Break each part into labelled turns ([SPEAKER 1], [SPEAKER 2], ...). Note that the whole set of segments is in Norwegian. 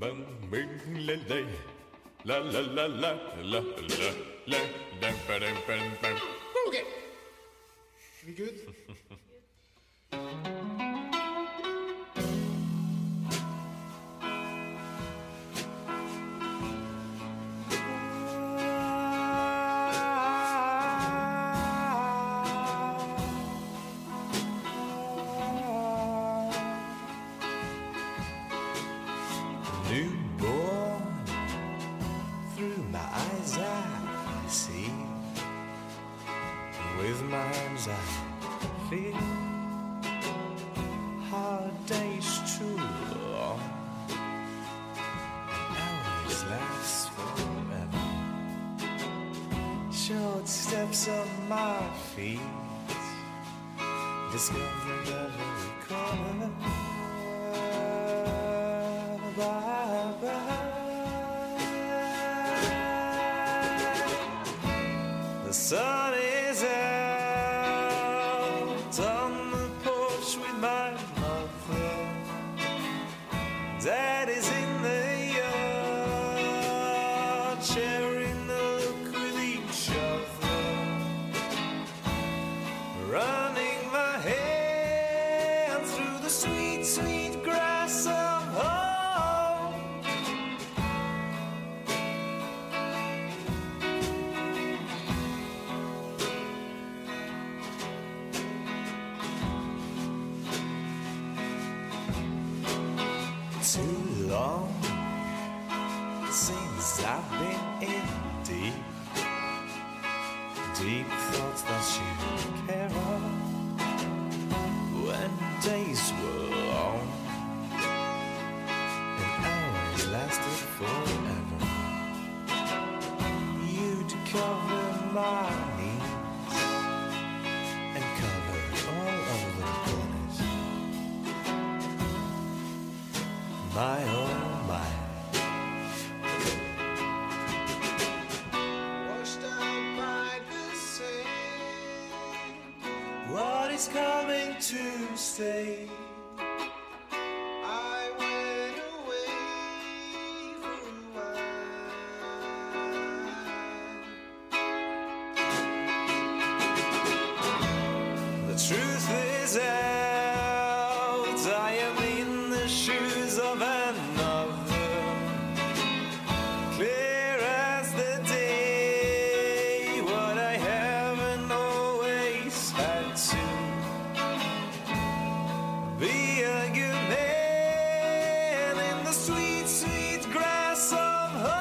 [SPEAKER 1] bang, bing, le, le. La, la, la, la, la, la, la. Dum, ba, dum, ba, dum, ba.
[SPEAKER 2] Ok. We good?
[SPEAKER 3] Newborn through my eyes I see with my hands I feel hard days too long and hours last forever short steps of my feet discovering every corner Bye, bye. The sun is out on the porch with my mother. Dad is in the yard, sharing the look with each other. Running my hand through the sweet, sweet grass of home. too long since I've been in deep, deep thoughts that you care of. When days were long and hours lasted forever, you'd cover my knees and cover all of the corners. My oh my. Washed out by the sand. What is coming to stay? I went away for a while. The truth is out. I am in the shoes of another. Clear as the day, what I haven't always had to be a good man in the sweet, sweet grass of home.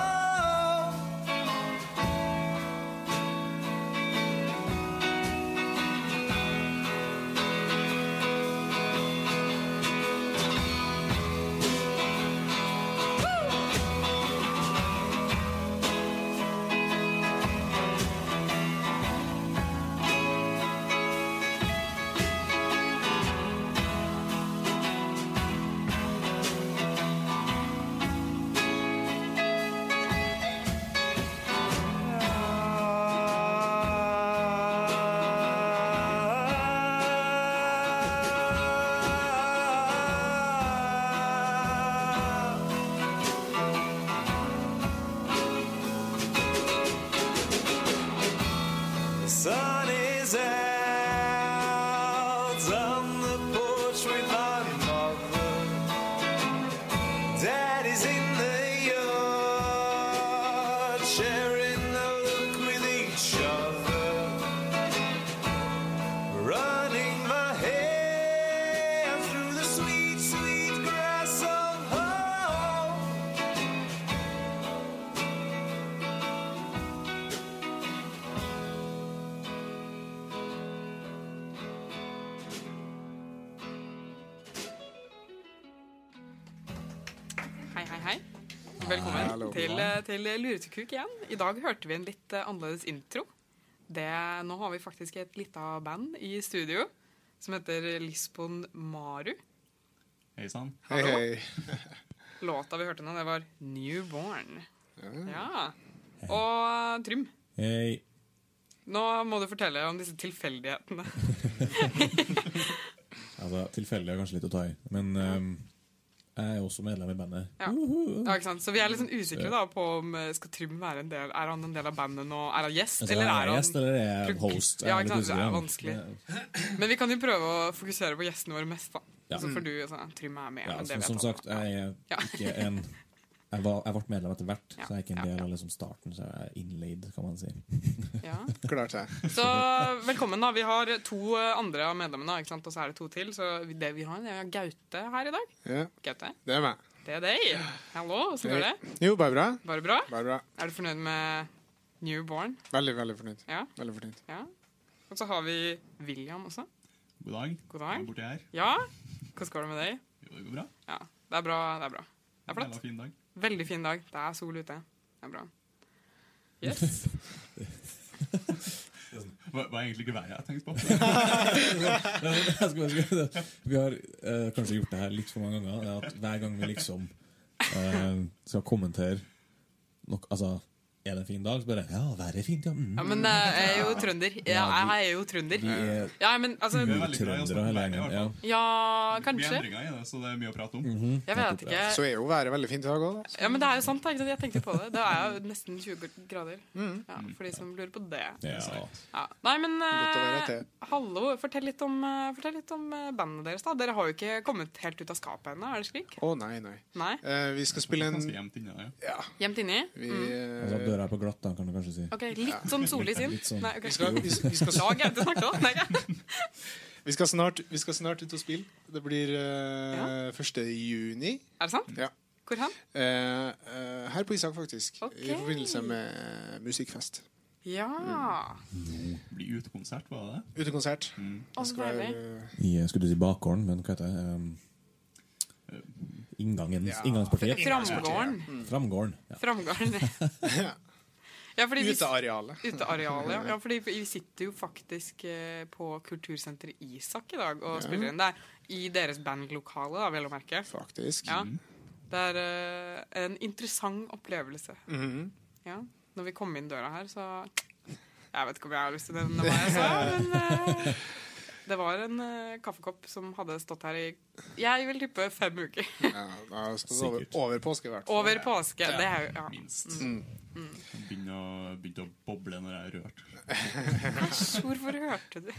[SPEAKER 3] The sun is out on the porch with my mother. Dad is in the yard, sharing the look with each other. Running my hair through the sweet, sweet grass of home.
[SPEAKER 4] Hei, hei, hei. Velkommen til, eh, til Luretekuk igjen. I dag hørte vi en litt eh, annerledes intro. Det, nå har vi faktisk et lita band i studio som heter Lisbon Maru.
[SPEAKER 5] Hei sann.
[SPEAKER 2] Hei, hei.
[SPEAKER 4] Låta vi hørte nå, det var 'Newborn'. Ja. Og Trym,
[SPEAKER 5] Hei.
[SPEAKER 4] nå må du fortelle om disse tilfeldighetene.
[SPEAKER 5] Altså, tilfeldig er kanskje litt å ta i, men ehm, Jeg er også medlem i bandet.
[SPEAKER 4] Ja.
[SPEAKER 5] Uhu.
[SPEAKER 4] Ja, ikke sant? Så vi er litt sånn usikre da på om eh, skal Trym være en del Er han en del av bandet nå? Er han gjest,
[SPEAKER 5] Altså,
[SPEAKER 4] eller er han
[SPEAKER 5] gjest, eller er jeg
[SPEAKER 4] prog-
[SPEAKER 5] host? Jeg
[SPEAKER 4] Ja,
[SPEAKER 5] litt
[SPEAKER 4] ikke sant? Det er
[SPEAKER 5] usikker,
[SPEAKER 4] vanskelig.
[SPEAKER 5] ja.
[SPEAKER 4] Men vi kan jo prøve å fokusere på gjestene våre mest, da.
[SPEAKER 5] Ja. Mm.
[SPEAKER 4] Så får du sånn Trym er med.
[SPEAKER 5] Ja,
[SPEAKER 4] men det
[SPEAKER 5] som,
[SPEAKER 4] vet
[SPEAKER 5] som
[SPEAKER 4] han.
[SPEAKER 5] sagt, jeg er
[SPEAKER 4] Ja.
[SPEAKER 5] ikke en jeg, var, jeg ble medlem etter hvert,
[SPEAKER 4] Ja,
[SPEAKER 5] så jeg er ikke en
[SPEAKER 4] ja,
[SPEAKER 5] del
[SPEAKER 4] ja.
[SPEAKER 5] av liksom starten. Så jeg er innleid, kan man si.
[SPEAKER 4] ja.
[SPEAKER 2] Klart det.
[SPEAKER 4] Så velkommen, da. Vi har to eh, andre av medlemmene, ikke sant? og så er det to til. Så vi- det vi har, det er Gaute her i dag.
[SPEAKER 2] Ja,
[SPEAKER 4] Gaute,
[SPEAKER 2] det er meg.
[SPEAKER 4] det er deg. Hallo, åssen går det?
[SPEAKER 2] Jo, bare bra.
[SPEAKER 4] Bare bra?
[SPEAKER 2] Bare bra.
[SPEAKER 4] Er du fornøyd med Newborn?
[SPEAKER 2] Veldig, veldig fornøyd.
[SPEAKER 4] Ja.
[SPEAKER 2] Veldig fornøyd.
[SPEAKER 4] ja. Og så har vi William også.
[SPEAKER 6] God dag.
[SPEAKER 4] God dag.
[SPEAKER 6] Borti her.
[SPEAKER 4] Ja, hvordan går det med deg?
[SPEAKER 6] Jo, det går bra.
[SPEAKER 4] Ja, det er bra. Det er bra. Det er
[SPEAKER 6] Jævla
[SPEAKER 4] flott.
[SPEAKER 6] Fin dag.
[SPEAKER 4] Veldig fin dag. Det er sol ute. Det er bra. Yes.
[SPEAKER 6] Hva, hva er egentlig ikke været jeg har tenkt på?
[SPEAKER 5] Jeg skulle ønske- Vi har eh, kanskje gjort det her litt for mange ganger. det er At hver gang vi liksom eh, skal kommentere nok, Altså, er det en fin dag? Så bare Ja, været er fint, ja. Mm.
[SPEAKER 4] Ja, men eh, jeg er jo trønder. Ja, jeg er jo trønder.
[SPEAKER 5] Vi er
[SPEAKER 4] Ja, men altså
[SPEAKER 6] Vi er veldig glad i å snakke
[SPEAKER 5] trøndere
[SPEAKER 6] om
[SPEAKER 5] hele
[SPEAKER 6] været, i
[SPEAKER 5] gjengen.
[SPEAKER 6] hvert
[SPEAKER 5] Ja.
[SPEAKER 6] fall.
[SPEAKER 4] Ja,
[SPEAKER 6] Vi
[SPEAKER 4] kanskje.
[SPEAKER 6] endringer i det, så det er mye å prate om.
[SPEAKER 2] Mhm.
[SPEAKER 4] Jeg vet ikke.
[SPEAKER 2] Så er jo været veldig fint i dag altså. òg, da.
[SPEAKER 4] Ja, men det er jo sant. da, ikke sant? Jeg tenkte på det. Det er jo nesten 20 grader. Ja, for de som lurer på det.
[SPEAKER 5] Ja.
[SPEAKER 4] Ja. Nei, men
[SPEAKER 2] Mm. Godt å være
[SPEAKER 4] eh,
[SPEAKER 2] til.
[SPEAKER 4] hallo, fortell litt om, eh, fortell litt om eh, bandet deres, da. Dere har jo ikke kommet helt ut av skapet ennå, er det slik?
[SPEAKER 2] Å, nei, nei.
[SPEAKER 4] Nei?
[SPEAKER 2] Eh, vi skal spille en
[SPEAKER 6] Ganske jevnt inne, ja.
[SPEAKER 2] Ja.
[SPEAKER 4] Gjemt inni?
[SPEAKER 2] Vi,
[SPEAKER 5] Altså,
[SPEAKER 2] eh,
[SPEAKER 5] døra er på glatt, da, kan du kanskje si.
[SPEAKER 4] Ok, Litt sånn solig sinn?
[SPEAKER 5] Litt sånn.
[SPEAKER 4] Nei, ok.
[SPEAKER 2] vi, skal, vi, vi, skal,
[SPEAKER 4] Lag er det snakk om? Nei, ja.
[SPEAKER 2] vi, skal snart, vi skal snart ut og spille. Det blir eh, 1. juni.
[SPEAKER 4] Er det sant?
[SPEAKER 2] Ja.
[SPEAKER 4] Hvor hen?
[SPEAKER 2] Eh, eh, her på Isak, faktisk.
[SPEAKER 4] Ok.
[SPEAKER 2] I forbindelse med eh, musikkfest.
[SPEAKER 4] Ja.
[SPEAKER 2] Mm.
[SPEAKER 6] Blir utekonsert, var det det?
[SPEAKER 2] Utekonsert.
[SPEAKER 4] Å, så deilig.
[SPEAKER 5] I, eh, skulle du si bakgården, men hva heter det? Um, inngangen,
[SPEAKER 2] Ja.
[SPEAKER 5] Inngangspartiet?
[SPEAKER 4] Framgården.
[SPEAKER 5] Framgården. Ja.
[SPEAKER 4] Framgården. Ja, fordi vi
[SPEAKER 2] Utearealet.
[SPEAKER 4] Utearealet, ja. ja. Fordi vi sitter jo faktisk eh, på kultursenteret Isak i dag og spiller inn der. I deres bandlokale, da, vel å merke.
[SPEAKER 2] Faktisk.
[SPEAKER 4] Ja. Det er eh, en interessant opplevelse.
[SPEAKER 2] Mhm.
[SPEAKER 4] Ja. Når vi kom inn døra her, så Jeg vet ikke om jeg har lyst til å nevne hva jeg sa, men eh, det var en eh, kaffekopp som hadde stått her i Jeg vil tippe fem uker.
[SPEAKER 2] Ja, da skal det over,
[SPEAKER 5] Sikkert.
[SPEAKER 2] over påske, i hvert fall.
[SPEAKER 4] Over påske. Det er jo ja. Mm.
[SPEAKER 6] Minst. Jeg Begynte å, begynte å boble når jeg er rørt.
[SPEAKER 4] Æsj, hvorfor hørte du det?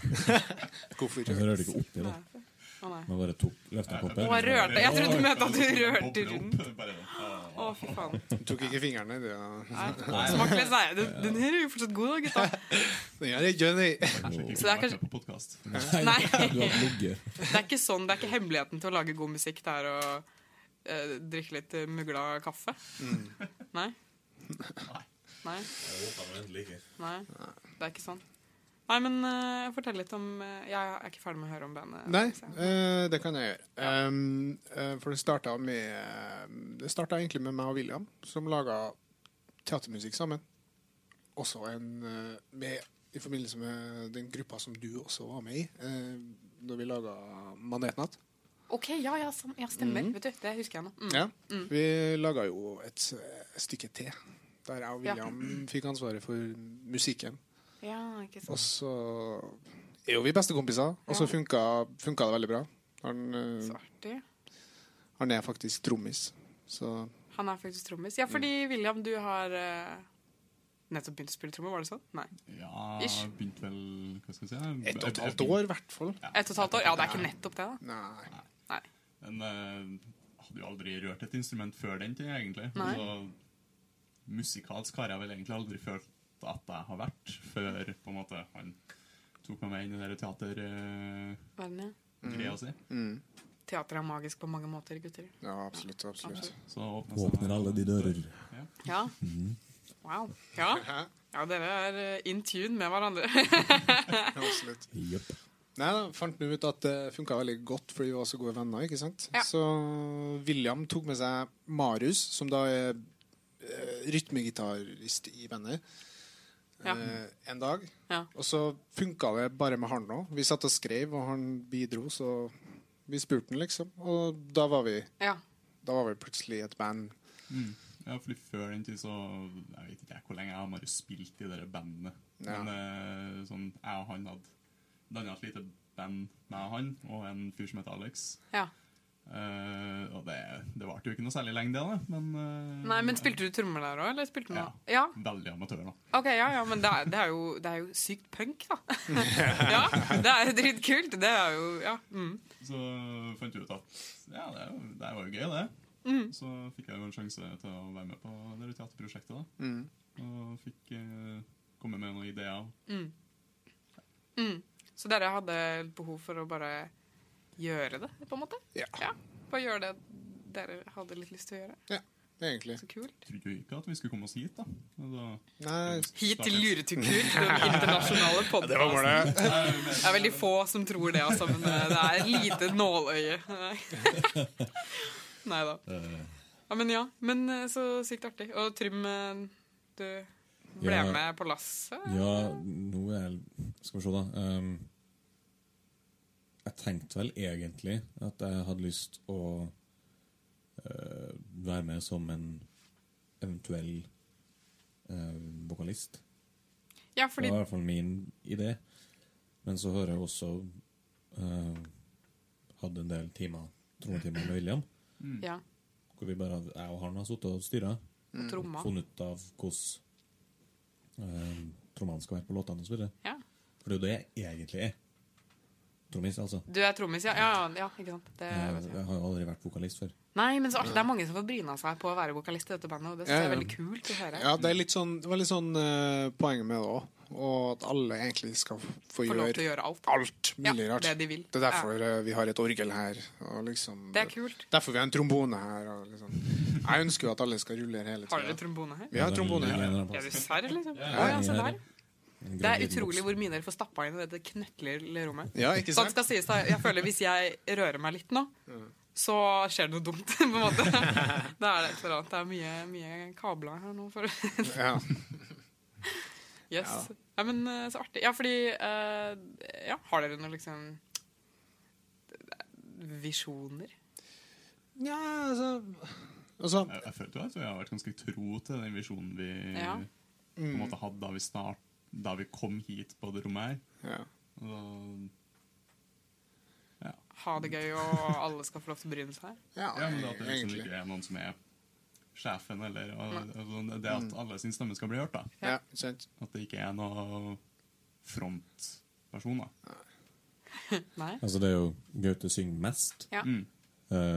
[SPEAKER 2] Hvorfor
[SPEAKER 5] Men
[SPEAKER 2] ikke?
[SPEAKER 5] så rørte du ikke oppi, da.
[SPEAKER 4] Å nei.
[SPEAKER 5] Man bare tok løftekoppen.
[SPEAKER 4] Å, jeg rørte. Jeg trodde du mente at du
[SPEAKER 6] Boble opp,
[SPEAKER 4] rørte rundt.
[SPEAKER 6] bare, ah.
[SPEAKER 4] Å, fy faen.
[SPEAKER 2] Du tok ikke fingrene i det? ja.
[SPEAKER 4] Så man kan lese, nei, den, den her er jo fortsatt god, da, gutta.
[SPEAKER 2] Den er ikke gøy.
[SPEAKER 6] Kanskje ikke
[SPEAKER 4] Så det er
[SPEAKER 6] kommer
[SPEAKER 4] kanskje-
[SPEAKER 6] på podcast.
[SPEAKER 4] Nei.
[SPEAKER 5] Du har ligget.
[SPEAKER 4] Det er ikke sånn, det er ikke hemmeligheten til å lage god musikk. Det er å eh, drikke litt eh, mugla kaffe.
[SPEAKER 6] Mm.
[SPEAKER 4] Nei. Nei. Nei. Det er ikke sånn. Nei, men eh, fortell litt om eh, Jeg er ikke ferdig med å høre om bandet.
[SPEAKER 2] Nei,
[SPEAKER 4] så-
[SPEAKER 2] eh, det kan jeg gjøre. Um, eh, for det starta med eh, Det starta egentlig med meg og William, som laga teatermusikk sammen. Også en eh, med, I forbindelse med den gruppa som du også var med i, eh, da vi laga Manetnatt.
[SPEAKER 4] OK, ja, ja, sam- ja stemmer. Vet du, Det husker jeg nå. Mm.
[SPEAKER 2] Ja. Vi laga jo et eh, stykke til, der jeg og
[SPEAKER 4] Ja.
[SPEAKER 2] William fikk ansvaret for musikken.
[SPEAKER 4] Ja, ikke
[SPEAKER 2] Og
[SPEAKER 4] sant.
[SPEAKER 2] så er jo vi bestekompiser, og så
[SPEAKER 4] Ja.
[SPEAKER 2] funka, funka det veldig bra. Han, eh,
[SPEAKER 4] Så artig.
[SPEAKER 2] han er faktisk trommis, så
[SPEAKER 4] Han er faktisk trommis. Ja, fordi William, du har eh, nettopp begynt å spille trommer, var det sånn? Nei.
[SPEAKER 6] Ja,
[SPEAKER 4] Ish.
[SPEAKER 6] begynte vel Hva skal jeg si? jeg-
[SPEAKER 2] et og et
[SPEAKER 6] jeg-
[SPEAKER 2] halvt år, i hvert fall.
[SPEAKER 4] Et og et halvt år? Ja, det er ikke nettopp det, da.
[SPEAKER 2] Nei.
[SPEAKER 4] Nei.
[SPEAKER 6] Men eh, hadde jo aldri rørt et instrument før den tid, egentlig.
[SPEAKER 4] Nei.
[SPEAKER 6] Så musikalsk har jeg vel egentlig aldri følt at jeg har vært, før på en måte han tok meg med inn i det teatergreia
[SPEAKER 4] Verden, ja.
[SPEAKER 2] Mm.
[SPEAKER 6] si.
[SPEAKER 4] Teater er magisk på mange måter, gutter.
[SPEAKER 2] Ja, absolutt. absolutt.
[SPEAKER 6] Så åpnet seg-
[SPEAKER 5] Åpner alle de dører.
[SPEAKER 4] Ja. Wow. Ja. ja, dere er eh, in tune med hverandre.
[SPEAKER 2] Ja, absolutt.
[SPEAKER 5] Jepp.
[SPEAKER 2] Nei da, fant vi ut at det funka veldig godt fordi vi var så gode venner. ikke sant?
[SPEAKER 4] Ja.
[SPEAKER 2] Så William tok med seg Marius, som da er eh, rytmegitarist i bandet,
[SPEAKER 4] Ja.
[SPEAKER 2] eh, en dag.
[SPEAKER 4] Ja.
[SPEAKER 2] Og så funka det bare med han òg. Vi satt og skrev, og han bidro, så vi spurte han, liksom. Og da var vi,
[SPEAKER 4] Ja.
[SPEAKER 2] da var vi plutselig et band.
[SPEAKER 6] Mm. Ja, fordi før den tid så Jeg vet ikke jeg hvor lenge jeg har bare spilt i det der bandet.
[SPEAKER 2] Ja.
[SPEAKER 6] Men eh, sånn, jeg og han hadde danna et lite band med han og en fyr som heter Alex.
[SPEAKER 4] ja.
[SPEAKER 6] Eh, og det, det varte jo ikke noe særlig lenge, det, da. Men, eh,
[SPEAKER 4] Nei, men Spilte du trommer der òg, eller spilte du noe? Ja.
[SPEAKER 6] Veldig amatør, da.
[SPEAKER 4] Ok, ja, ja, men det er, det, er jo, det er jo sykt punk, da. ja, Det er jo dritkult. Det er jo Ja. Mm.
[SPEAKER 6] Så fant jeg ut at ja, det, er jo- det her var jo gøy, det.
[SPEAKER 4] Mm.
[SPEAKER 6] Så fikk jeg jo en sjanse til å være med på det her teaterprosjektet. da. Og fikk eh, komme med noen ideer.
[SPEAKER 4] Så dere hadde behov for å bare gjøre det, på en måte?
[SPEAKER 2] Ja.
[SPEAKER 4] Bare gjøre det dere hadde litt lyst til å gjøre.
[SPEAKER 2] Ja, egentlig.
[SPEAKER 4] Så kult.
[SPEAKER 6] Trodde jo ikke at vi skulle komme oss hit, da. Men da
[SPEAKER 2] Nei,
[SPEAKER 4] Hit til Luretukur, den internasjonale podkasten.
[SPEAKER 2] målet.
[SPEAKER 4] Det er veldig få som tror det, altså, men eh, det er et lite nåløye. Nei da. Ja, men ja. Men eh, så sykt artig. Og Trym, eh, du ble
[SPEAKER 5] Ja.
[SPEAKER 4] med på lasset?
[SPEAKER 5] Ja, nå er jeg Skal vi se, da. Ehm, jeg tenkte vel egentlig at jeg hadde lyst å eh, være med som en eventuell eh, vokalist.
[SPEAKER 4] Ja,
[SPEAKER 5] Det
[SPEAKER 4] fordi
[SPEAKER 5] var i hvert fall min idé. Men så hører jeg også eh, Hadde en del timer trommetimer med William,
[SPEAKER 4] Ja,
[SPEAKER 5] hvor vi bare, hadde- jeg og han har sittet og styra
[SPEAKER 2] Mm.
[SPEAKER 4] og tromma.
[SPEAKER 5] funnet ut av hvordan eh, trommene skal være på låtene osv.
[SPEAKER 4] Ja.
[SPEAKER 5] For det er jo det jeg egentlig er. Trommis, altså.
[SPEAKER 4] Du er trommis, ja. ja? Ja, ikke sant. Det
[SPEAKER 5] Jeg,
[SPEAKER 4] vet jeg.
[SPEAKER 5] jeg har jo aldri vært vokalist før.
[SPEAKER 4] Nei, men så artig. Det er mange som får bryna seg på å være vokalist i dette bandet, og det synes jeg
[SPEAKER 2] Ja,
[SPEAKER 4] er
[SPEAKER 2] ja.
[SPEAKER 4] veldig kult å høre.
[SPEAKER 2] Ja, det er litt sånn, det var litt sånn eh, poenget med det òg. Og at alle egentlig skal få,
[SPEAKER 4] Få lov
[SPEAKER 2] gjøre,
[SPEAKER 4] til å gjøre alt.
[SPEAKER 2] alt mulig
[SPEAKER 4] Ja,
[SPEAKER 2] rart.
[SPEAKER 4] det de vil.
[SPEAKER 2] er derfor eh, vi har et orgel her. Og liksom,
[SPEAKER 4] Det er kult.
[SPEAKER 2] Derfor vi har en trombone her. Og liksom. Jeg ønsker jo at alle skal rullere hele
[SPEAKER 4] Har dere
[SPEAKER 2] tida.
[SPEAKER 4] trombone her?
[SPEAKER 2] Vi har trombone
[SPEAKER 5] Ja,
[SPEAKER 2] her.
[SPEAKER 5] ja, ja.
[SPEAKER 4] Er du serr, liksom? Ja,
[SPEAKER 5] ja.
[SPEAKER 4] ja, se der.
[SPEAKER 5] En
[SPEAKER 4] Det
[SPEAKER 5] grønn
[SPEAKER 4] er
[SPEAKER 5] liten
[SPEAKER 4] utrolig
[SPEAKER 5] boks.
[SPEAKER 4] hvor mye dere får stappa inn i dette knøttlille rommet.
[SPEAKER 2] Ja, ikke sant? Mm.
[SPEAKER 4] Sant skal sies da, jeg føler Hvis jeg rører meg litt nå, så skjer det noe dumt. på en måte. Da er det et eller annet. Det er mye, mye kabler her nå. for...
[SPEAKER 2] Ja.
[SPEAKER 4] Yes. Ja. men eh, så artig. Ja, fordi eh, ja, Har dere noen liksom Visjoner?
[SPEAKER 2] ja, altså Altså,
[SPEAKER 6] Jeg, jeg følte jo at vi har vært ganske tro til den visjonen vi
[SPEAKER 4] Ja.
[SPEAKER 6] på en måte hadde da vi, start, da vi kom hit på det rommet her.
[SPEAKER 2] ja.
[SPEAKER 6] Og da-
[SPEAKER 4] Ha det gøy, og alle skal få lov til å bryne seg?
[SPEAKER 2] ja,
[SPEAKER 6] Ja, men det at det liksom
[SPEAKER 2] egentlig.
[SPEAKER 6] ikke er noen som er sjefen, eller og, og sånn, Det
[SPEAKER 2] Mm.
[SPEAKER 6] at alle sin stemme skal bli hørt, da.
[SPEAKER 2] Ja, ikke sant?
[SPEAKER 6] At det ikke er noe frontperson, da.
[SPEAKER 4] Nei?
[SPEAKER 5] Altså, det er jo Gaute synger mest,
[SPEAKER 4] Ja.
[SPEAKER 5] eh,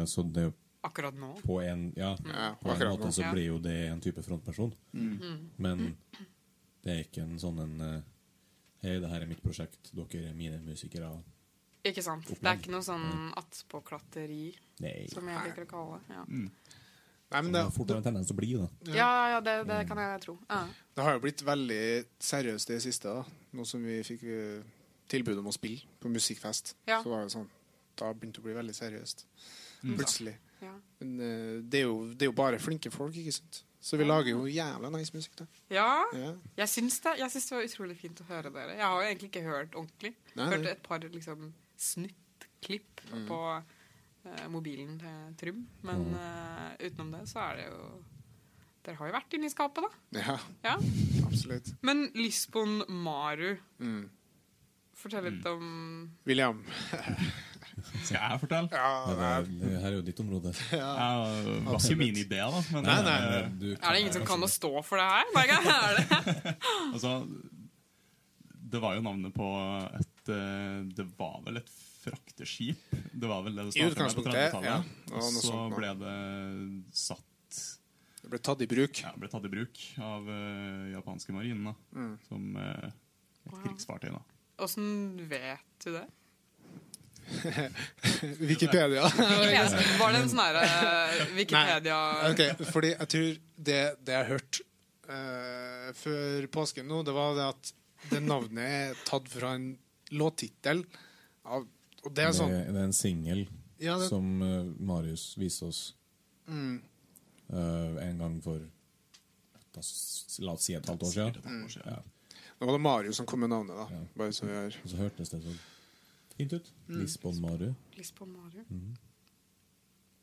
[SPEAKER 5] så det er jo
[SPEAKER 4] Akkurat nå?
[SPEAKER 5] på en Ja,
[SPEAKER 2] Ja,
[SPEAKER 5] på en
[SPEAKER 2] akkurat
[SPEAKER 5] måte
[SPEAKER 2] nå. Mm.
[SPEAKER 5] så
[SPEAKER 4] Ja.
[SPEAKER 5] blir jo det en type frontperson. Men det er ikke en sånn en eh, Hei, det her er mitt prosjekt, dere er mine musikere.
[SPEAKER 4] Ikke sant? Det er ikke noe sånn attpåklatteri,
[SPEAKER 5] Nei.
[SPEAKER 4] som jeg liker å kalle det. Ja,
[SPEAKER 2] Nei, men
[SPEAKER 5] Det
[SPEAKER 2] det,
[SPEAKER 5] er fort en tendens til å bli, da.
[SPEAKER 4] ja, ja det, det kan jeg tro. Ja.
[SPEAKER 2] det har jo blitt veldig seriøst i det siste, da. Nå som vi fikk eh, tilbud om å spille på musikkfest.
[SPEAKER 4] Ja.
[SPEAKER 2] Så var det sånn Da begynte det å bli veldig seriøst.
[SPEAKER 6] Mm.
[SPEAKER 2] Plutselig.
[SPEAKER 4] Ja.
[SPEAKER 2] Men eh, det er, jo, det er jo bare flinke folk, ikke sant? Så vi lager jo jævla nice musikk, da.
[SPEAKER 4] ja.
[SPEAKER 2] Ja.
[SPEAKER 4] Jeg syns det, jeg syns det var utrolig fint å høre dere. Jeg har jo egentlig ikke hørt ordentlig.
[SPEAKER 2] Nei, Mm. nei.
[SPEAKER 4] Hørt et par liksom, snuttklipp på eh, mobilen til Trym. Men
[SPEAKER 2] Mm.
[SPEAKER 4] eh, utenom det så er det jo Dere har jo vært inni skapet, da.
[SPEAKER 2] Ja,
[SPEAKER 4] Ja.
[SPEAKER 2] absolutt.
[SPEAKER 4] Men Lisbon Maru
[SPEAKER 2] Mm.
[SPEAKER 4] Fortell litt om
[SPEAKER 2] William.
[SPEAKER 6] Skal jeg fortelle?
[SPEAKER 5] Ja,
[SPEAKER 2] Ja,
[SPEAKER 5] det, er- eh, det her er jo ditt område.
[SPEAKER 6] Ja, det var ikke min idé, da. Men,
[SPEAKER 2] Nei, nei,
[SPEAKER 6] eh,
[SPEAKER 5] Du
[SPEAKER 4] Er det ingen som kan å stå for det her? Berga? Er det?
[SPEAKER 6] Altså, det var jo navnet på et eh, Det var vel et frakteskip? Det var vel det det
[SPEAKER 2] I
[SPEAKER 6] startet med på
[SPEAKER 2] utgangspunktet,
[SPEAKER 6] 30-tallet.
[SPEAKER 2] ja. Og noe
[SPEAKER 6] Så
[SPEAKER 2] sånt,
[SPEAKER 6] ble
[SPEAKER 2] ble...
[SPEAKER 6] det satt
[SPEAKER 2] Det ble tatt i bruk.
[SPEAKER 6] Ja, ble tatt i bruk av eh, japanske marinen da,
[SPEAKER 2] Mm.
[SPEAKER 6] som eh, et krigsfartøy. da.
[SPEAKER 4] Åssen vet du det?
[SPEAKER 2] Wikipedia.
[SPEAKER 4] Var det en sånn herre Wikipedia
[SPEAKER 2] Eh, Ok, fordi jeg tror det, det jeg hørte eh, før påsken nå, det var det at det navnet er tatt fra en låttittel. av- Og det er
[SPEAKER 5] Det
[SPEAKER 2] sånn
[SPEAKER 5] er, det er en singel
[SPEAKER 2] Ja, det- mm.
[SPEAKER 5] som eh, Marius viste oss eh, en gang for da, s- La oss si et halvt år
[SPEAKER 6] Sikkert
[SPEAKER 5] siden.
[SPEAKER 6] et halvt år siden.
[SPEAKER 2] Nå var det Mario som kom med navnet, da. Bare så vi har
[SPEAKER 5] Og så hørtes det så fint ut.
[SPEAKER 2] Mm.
[SPEAKER 5] Lisbon Maru.
[SPEAKER 4] Lisbon Maru.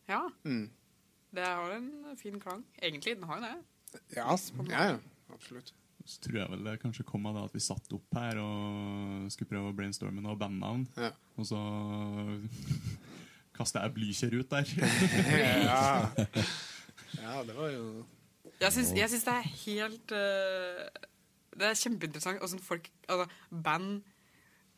[SPEAKER 4] Ja.
[SPEAKER 2] Mm.
[SPEAKER 4] Det har en fin klang. Egentlig, den har jo det.
[SPEAKER 2] Ja, ja, ja absolutt.
[SPEAKER 6] Så tror jeg vel det kanskje kom av det at vi satt opp her og skulle prøve å brainstorme noe bandnavn.
[SPEAKER 2] Ja.
[SPEAKER 6] Og så kaster jeg Blücher ut der.
[SPEAKER 2] Ja. ja, det var jo
[SPEAKER 4] Jeg syns, jeg syns det er helt eh, Det er kjempeinteressant hvordan folk altså, Band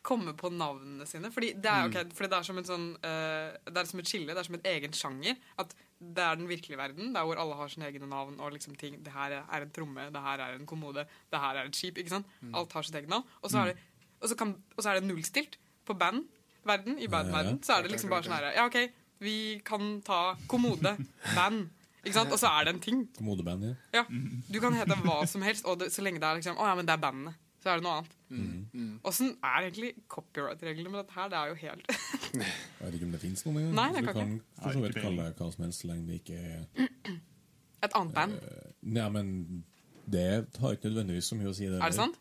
[SPEAKER 4] kommer på navnene sine. Fordi det er, ok, fordi det er som en sånn eh, Det er som et skille, det er som en egen sjanger. At det er den virkelige verden, det er hvor alle har sine egne navn. og liksom ting, Det her er en tromme, det her er en kommode, det her er et skip. ikke sant? Alt har sitt eget navn. Og så er det, og så kan, og så er det nullstilt på bandverden. I bandverden så er det liksom bare sånn her Ja, OK, vi kan ta kommode, band. Ikke sant? Og så er det en ting.
[SPEAKER 5] Modeband, ja.
[SPEAKER 4] Ja,
[SPEAKER 5] Mm.
[SPEAKER 4] Du kan hete hva som helst, og det, så lenge det er liksom, å ja, men det er bandene. Så er det noe annet.
[SPEAKER 2] Mm.
[SPEAKER 5] Mm.
[SPEAKER 4] Åssen er egentlig copyright-reglene med dette her? Det er jo helt
[SPEAKER 5] Jeg vet ikke om det fins noe engang.
[SPEAKER 4] Nei,
[SPEAKER 5] så
[SPEAKER 4] det
[SPEAKER 5] du
[SPEAKER 4] kan
[SPEAKER 5] kan for så
[SPEAKER 6] Nei,
[SPEAKER 5] vidt
[SPEAKER 6] ikke
[SPEAKER 5] kalle det hva som helst, så lenge det ikke er
[SPEAKER 4] Et annet band.
[SPEAKER 5] Nei, men det har ikke nødvendigvis så mye å si.
[SPEAKER 4] Er det sant?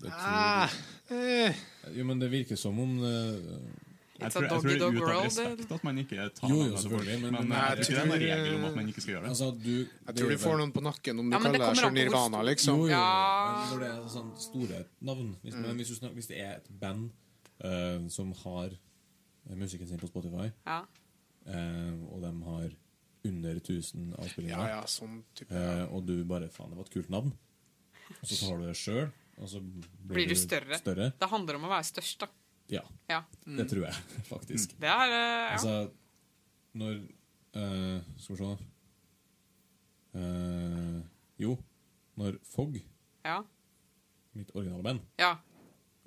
[SPEAKER 5] Jeg tror-
[SPEAKER 2] ah, eh,
[SPEAKER 5] Jo, men det virker som om eh,
[SPEAKER 6] Jeg
[SPEAKER 4] It's
[SPEAKER 6] tror,
[SPEAKER 4] a
[SPEAKER 6] jeg tror det
[SPEAKER 4] doggy
[SPEAKER 6] er ut
[SPEAKER 4] dog
[SPEAKER 6] av
[SPEAKER 4] world,
[SPEAKER 6] respekt at man ikke tar
[SPEAKER 5] Jo, jo,
[SPEAKER 6] navnet til folk,
[SPEAKER 5] selvfølgelig, men-
[SPEAKER 6] men,
[SPEAKER 5] men
[SPEAKER 6] jeg tror ikke det er en
[SPEAKER 2] jeg tror-
[SPEAKER 6] regel om at man ikke skal gjøre det.
[SPEAKER 5] Altså, du
[SPEAKER 2] Jeg tror du får noen på nakken om du
[SPEAKER 4] Ja, men det
[SPEAKER 2] kaller deg
[SPEAKER 4] kommer an
[SPEAKER 2] for
[SPEAKER 4] på hvor
[SPEAKER 2] Nirvana,
[SPEAKER 4] stor-
[SPEAKER 2] liksom.
[SPEAKER 5] Jo, jo,
[SPEAKER 4] Ja. Mm.
[SPEAKER 5] men når det er sånn store navn Hvis, men hvis, du snak, hvis det er et band eh, som har eh, musikken sin på Spotify,
[SPEAKER 4] Ja.
[SPEAKER 5] eh, og de har under 1000 avspillinger,
[SPEAKER 2] Ja, ja, sånn type.
[SPEAKER 5] eh, og du bare Faen, det var et kult navn. Og så tar du det sjøl, og så blir,
[SPEAKER 4] Blir du større? Det handler om å være størst, da.
[SPEAKER 5] Ja.
[SPEAKER 4] Ja.
[SPEAKER 5] Det tror jeg, faktisk.
[SPEAKER 4] Det er eh, Mm. ja.
[SPEAKER 5] Altså, når eh, Skal vi se Eh, Jo, når Fogg,
[SPEAKER 4] ja.
[SPEAKER 5] mitt originale band,
[SPEAKER 4] ja.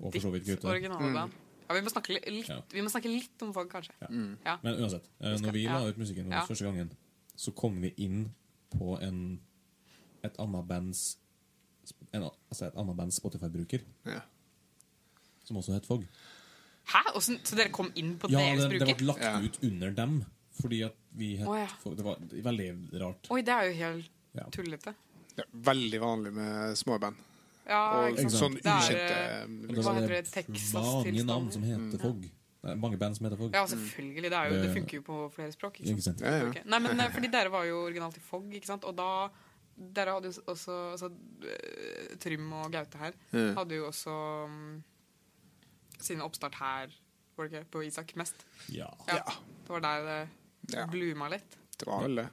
[SPEAKER 5] og for så vidt
[SPEAKER 4] Ditt
[SPEAKER 5] gutta
[SPEAKER 4] originale band. Ja, vi må snakke li- litt,
[SPEAKER 5] Ja.
[SPEAKER 4] vi må snakke litt om folk, kanskje.
[SPEAKER 2] Mm.
[SPEAKER 4] Ja.
[SPEAKER 5] Men uansett, eh, når vi
[SPEAKER 4] ja.
[SPEAKER 5] la ut musikken vår
[SPEAKER 4] Ja.
[SPEAKER 5] første gangen, så kom vi inn på en et annet bands en, altså et annet bands Spotify-bruker,
[SPEAKER 2] Ja.
[SPEAKER 5] som også het Fogg.
[SPEAKER 4] Hæ? Åssen- så dere kom inn på
[SPEAKER 5] Ja,
[SPEAKER 4] deres
[SPEAKER 5] det,
[SPEAKER 4] bruker?
[SPEAKER 5] det ble lagt
[SPEAKER 2] Ja.
[SPEAKER 5] ut under dem, fordi at vi het
[SPEAKER 4] Å, ja.
[SPEAKER 5] Fogg. Det var veldig rart.
[SPEAKER 4] Oi, det er jo helt
[SPEAKER 5] Ja.
[SPEAKER 4] tullete.
[SPEAKER 2] Det er veldig vanlig med småband.
[SPEAKER 4] Ja,
[SPEAKER 2] Og
[SPEAKER 4] ikke sant.
[SPEAKER 2] sånn
[SPEAKER 4] Det er,
[SPEAKER 2] ukjente
[SPEAKER 4] eh,
[SPEAKER 5] Og
[SPEAKER 2] um,
[SPEAKER 5] det
[SPEAKER 4] Hva
[SPEAKER 5] var
[SPEAKER 4] heter
[SPEAKER 5] det
[SPEAKER 4] det? Texas
[SPEAKER 5] Mange navn
[SPEAKER 4] tilstander?
[SPEAKER 5] som heter Fogg. Det er mange band som heter Fogg.
[SPEAKER 2] Mm.
[SPEAKER 4] Ja, selvfølgelig. Det, er jo, det
[SPEAKER 5] Det-
[SPEAKER 4] funker jo på flere språk. Ikke
[SPEAKER 5] Ikke
[SPEAKER 4] sant?
[SPEAKER 5] sant?
[SPEAKER 2] ja, ja.
[SPEAKER 4] Ok. Nei, men eh, fordi dere var jo originalt i FOG, ikke sant? Og da Dere hadde jo også altså, eh, Trym og Gaute her
[SPEAKER 2] Ja.
[SPEAKER 4] hadde jo også mm, sine oppstart her, var det ikke? På Isak mest.
[SPEAKER 5] Ja,
[SPEAKER 4] Ja.
[SPEAKER 2] Ja.
[SPEAKER 4] Det var der det
[SPEAKER 2] Ja.
[SPEAKER 4] bluma litt.
[SPEAKER 2] Det var vel det.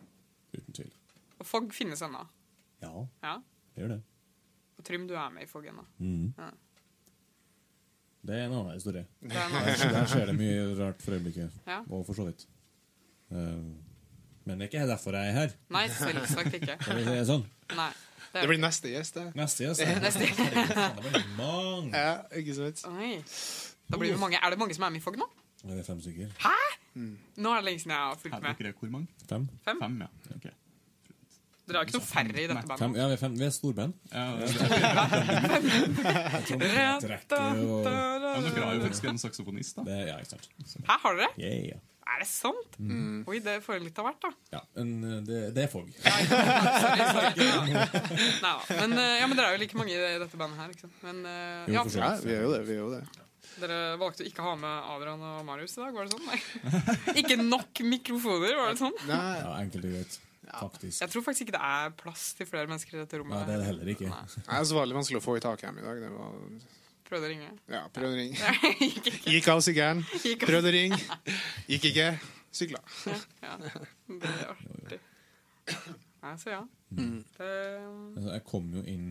[SPEAKER 5] uten tvil.
[SPEAKER 4] Og FOG finnes ennå.
[SPEAKER 5] Ja,
[SPEAKER 4] Ja.
[SPEAKER 5] det gjør det.
[SPEAKER 4] Og Trym, du er med i FOG ennå.
[SPEAKER 5] Mhm.
[SPEAKER 4] Ja.
[SPEAKER 5] Det er en annen historie.
[SPEAKER 4] Det er en annen-
[SPEAKER 5] Der skjer det mye rart for øyeblikket.
[SPEAKER 4] Ja.
[SPEAKER 5] Og for så vidt. Eh, men det er ikke derfor jeg er her.
[SPEAKER 4] Nei, selvsagt ikke.
[SPEAKER 5] for å si Det er sånn.
[SPEAKER 4] Nei.
[SPEAKER 2] Det blir neste gjest, det.
[SPEAKER 5] Neste gjest er
[SPEAKER 4] Neste.
[SPEAKER 5] Herregud, faen, det blir mange.
[SPEAKER 2] Ja, ikke sant?
[SPEAKER 4] Oi. Da blir vi mange. Er det mange som er med i FOG nå?
[SPEAKER 5] Er det fem stykker?
[SPEAKER 4] Nå er det lenge siden jeg har
[SPEAKER 6] Her
[SPEAKER 4] fulgt
[SPEAKER 6] er
[SPEAKER 4] med.
[SPEAKER 6] dere hvor mange?
[SPEAKER 5] Fem?
[SPEAKER 4] Fem?
[SPEAKER 6] Fem, ja. Ok.
[SPEAKER 4] Dere har ikke noe færre i dette bandet?
[SPEAKER 5] fem? Ja, vi er, fem. Vi er storband.
[SPEAKER 6] Ja, det-
[SPEAKER 5] Trekker og
[SPEAKER 6] men dere har jo faktisk en saksofonist, da.
[SPEAKER 5] det, Ja, ikke sant. Så-
[SPEAKER 4] Hæ, har dere?
[SPEAKER 5] Yeah.
[SPEAKER 4] Er det sant?
[SPEAKER 5] Mm.
[SPEAKER 4] Oi, det får jeg litt av hvert, da.
[SPEAKER 5] Ja, men eh, det, det er Fogg.
[SPEAKER 4] Nei, da. Men, eh, ja, men dere er jo like mange i dette bandet her. Ikke sant? Men eh,
[SPEAKER 5] Jo,
[SPEAKER 4] ja,
[SPEAKER 5] for så
[SPEAKER 2] Ja, vi er jo det. vi er jo det.
[SPEAKER 4] Dere valgte å ikke ha med Adrian og Marius i dag, var det sånn? Nei. ikke nok mikrofoner, var det sånn?
[SPEAKER 2] Nei,
[SPEAKER 5] Ja, enkelt og greit. Faktisk.
[SPEAKER 4] Jeg tror faktisk ikke det er plass til flere mennesker i dette rommet.
[SPEAKER 5] Nei, det er det heller ikke.
[SPEAKER 4] Nei.
[SPEAKER 2] Nei, så var det litt vanskelig å få i tak hjem i dag. Det var,
[SPEAKER 4] Prøvde å ringe.
[SPEAKER 2] ja, prøvde å ringe.
[SPEAKER 4] Ikke- ikke-
[SPEAKER 2] Gikk av sykkelen,
[SPEAKER 4] Gikk av.
[SPEAKER 2] prøvde å ringe. Gikk ikke. Sykla.
[SPEAKER 4] ja. Det er artig. Nei, så ja.
[SPEAKER 5] Mm.
[SPEAKER 4] Det,
[SPEAKER 5] Altså, jeg kom jo inn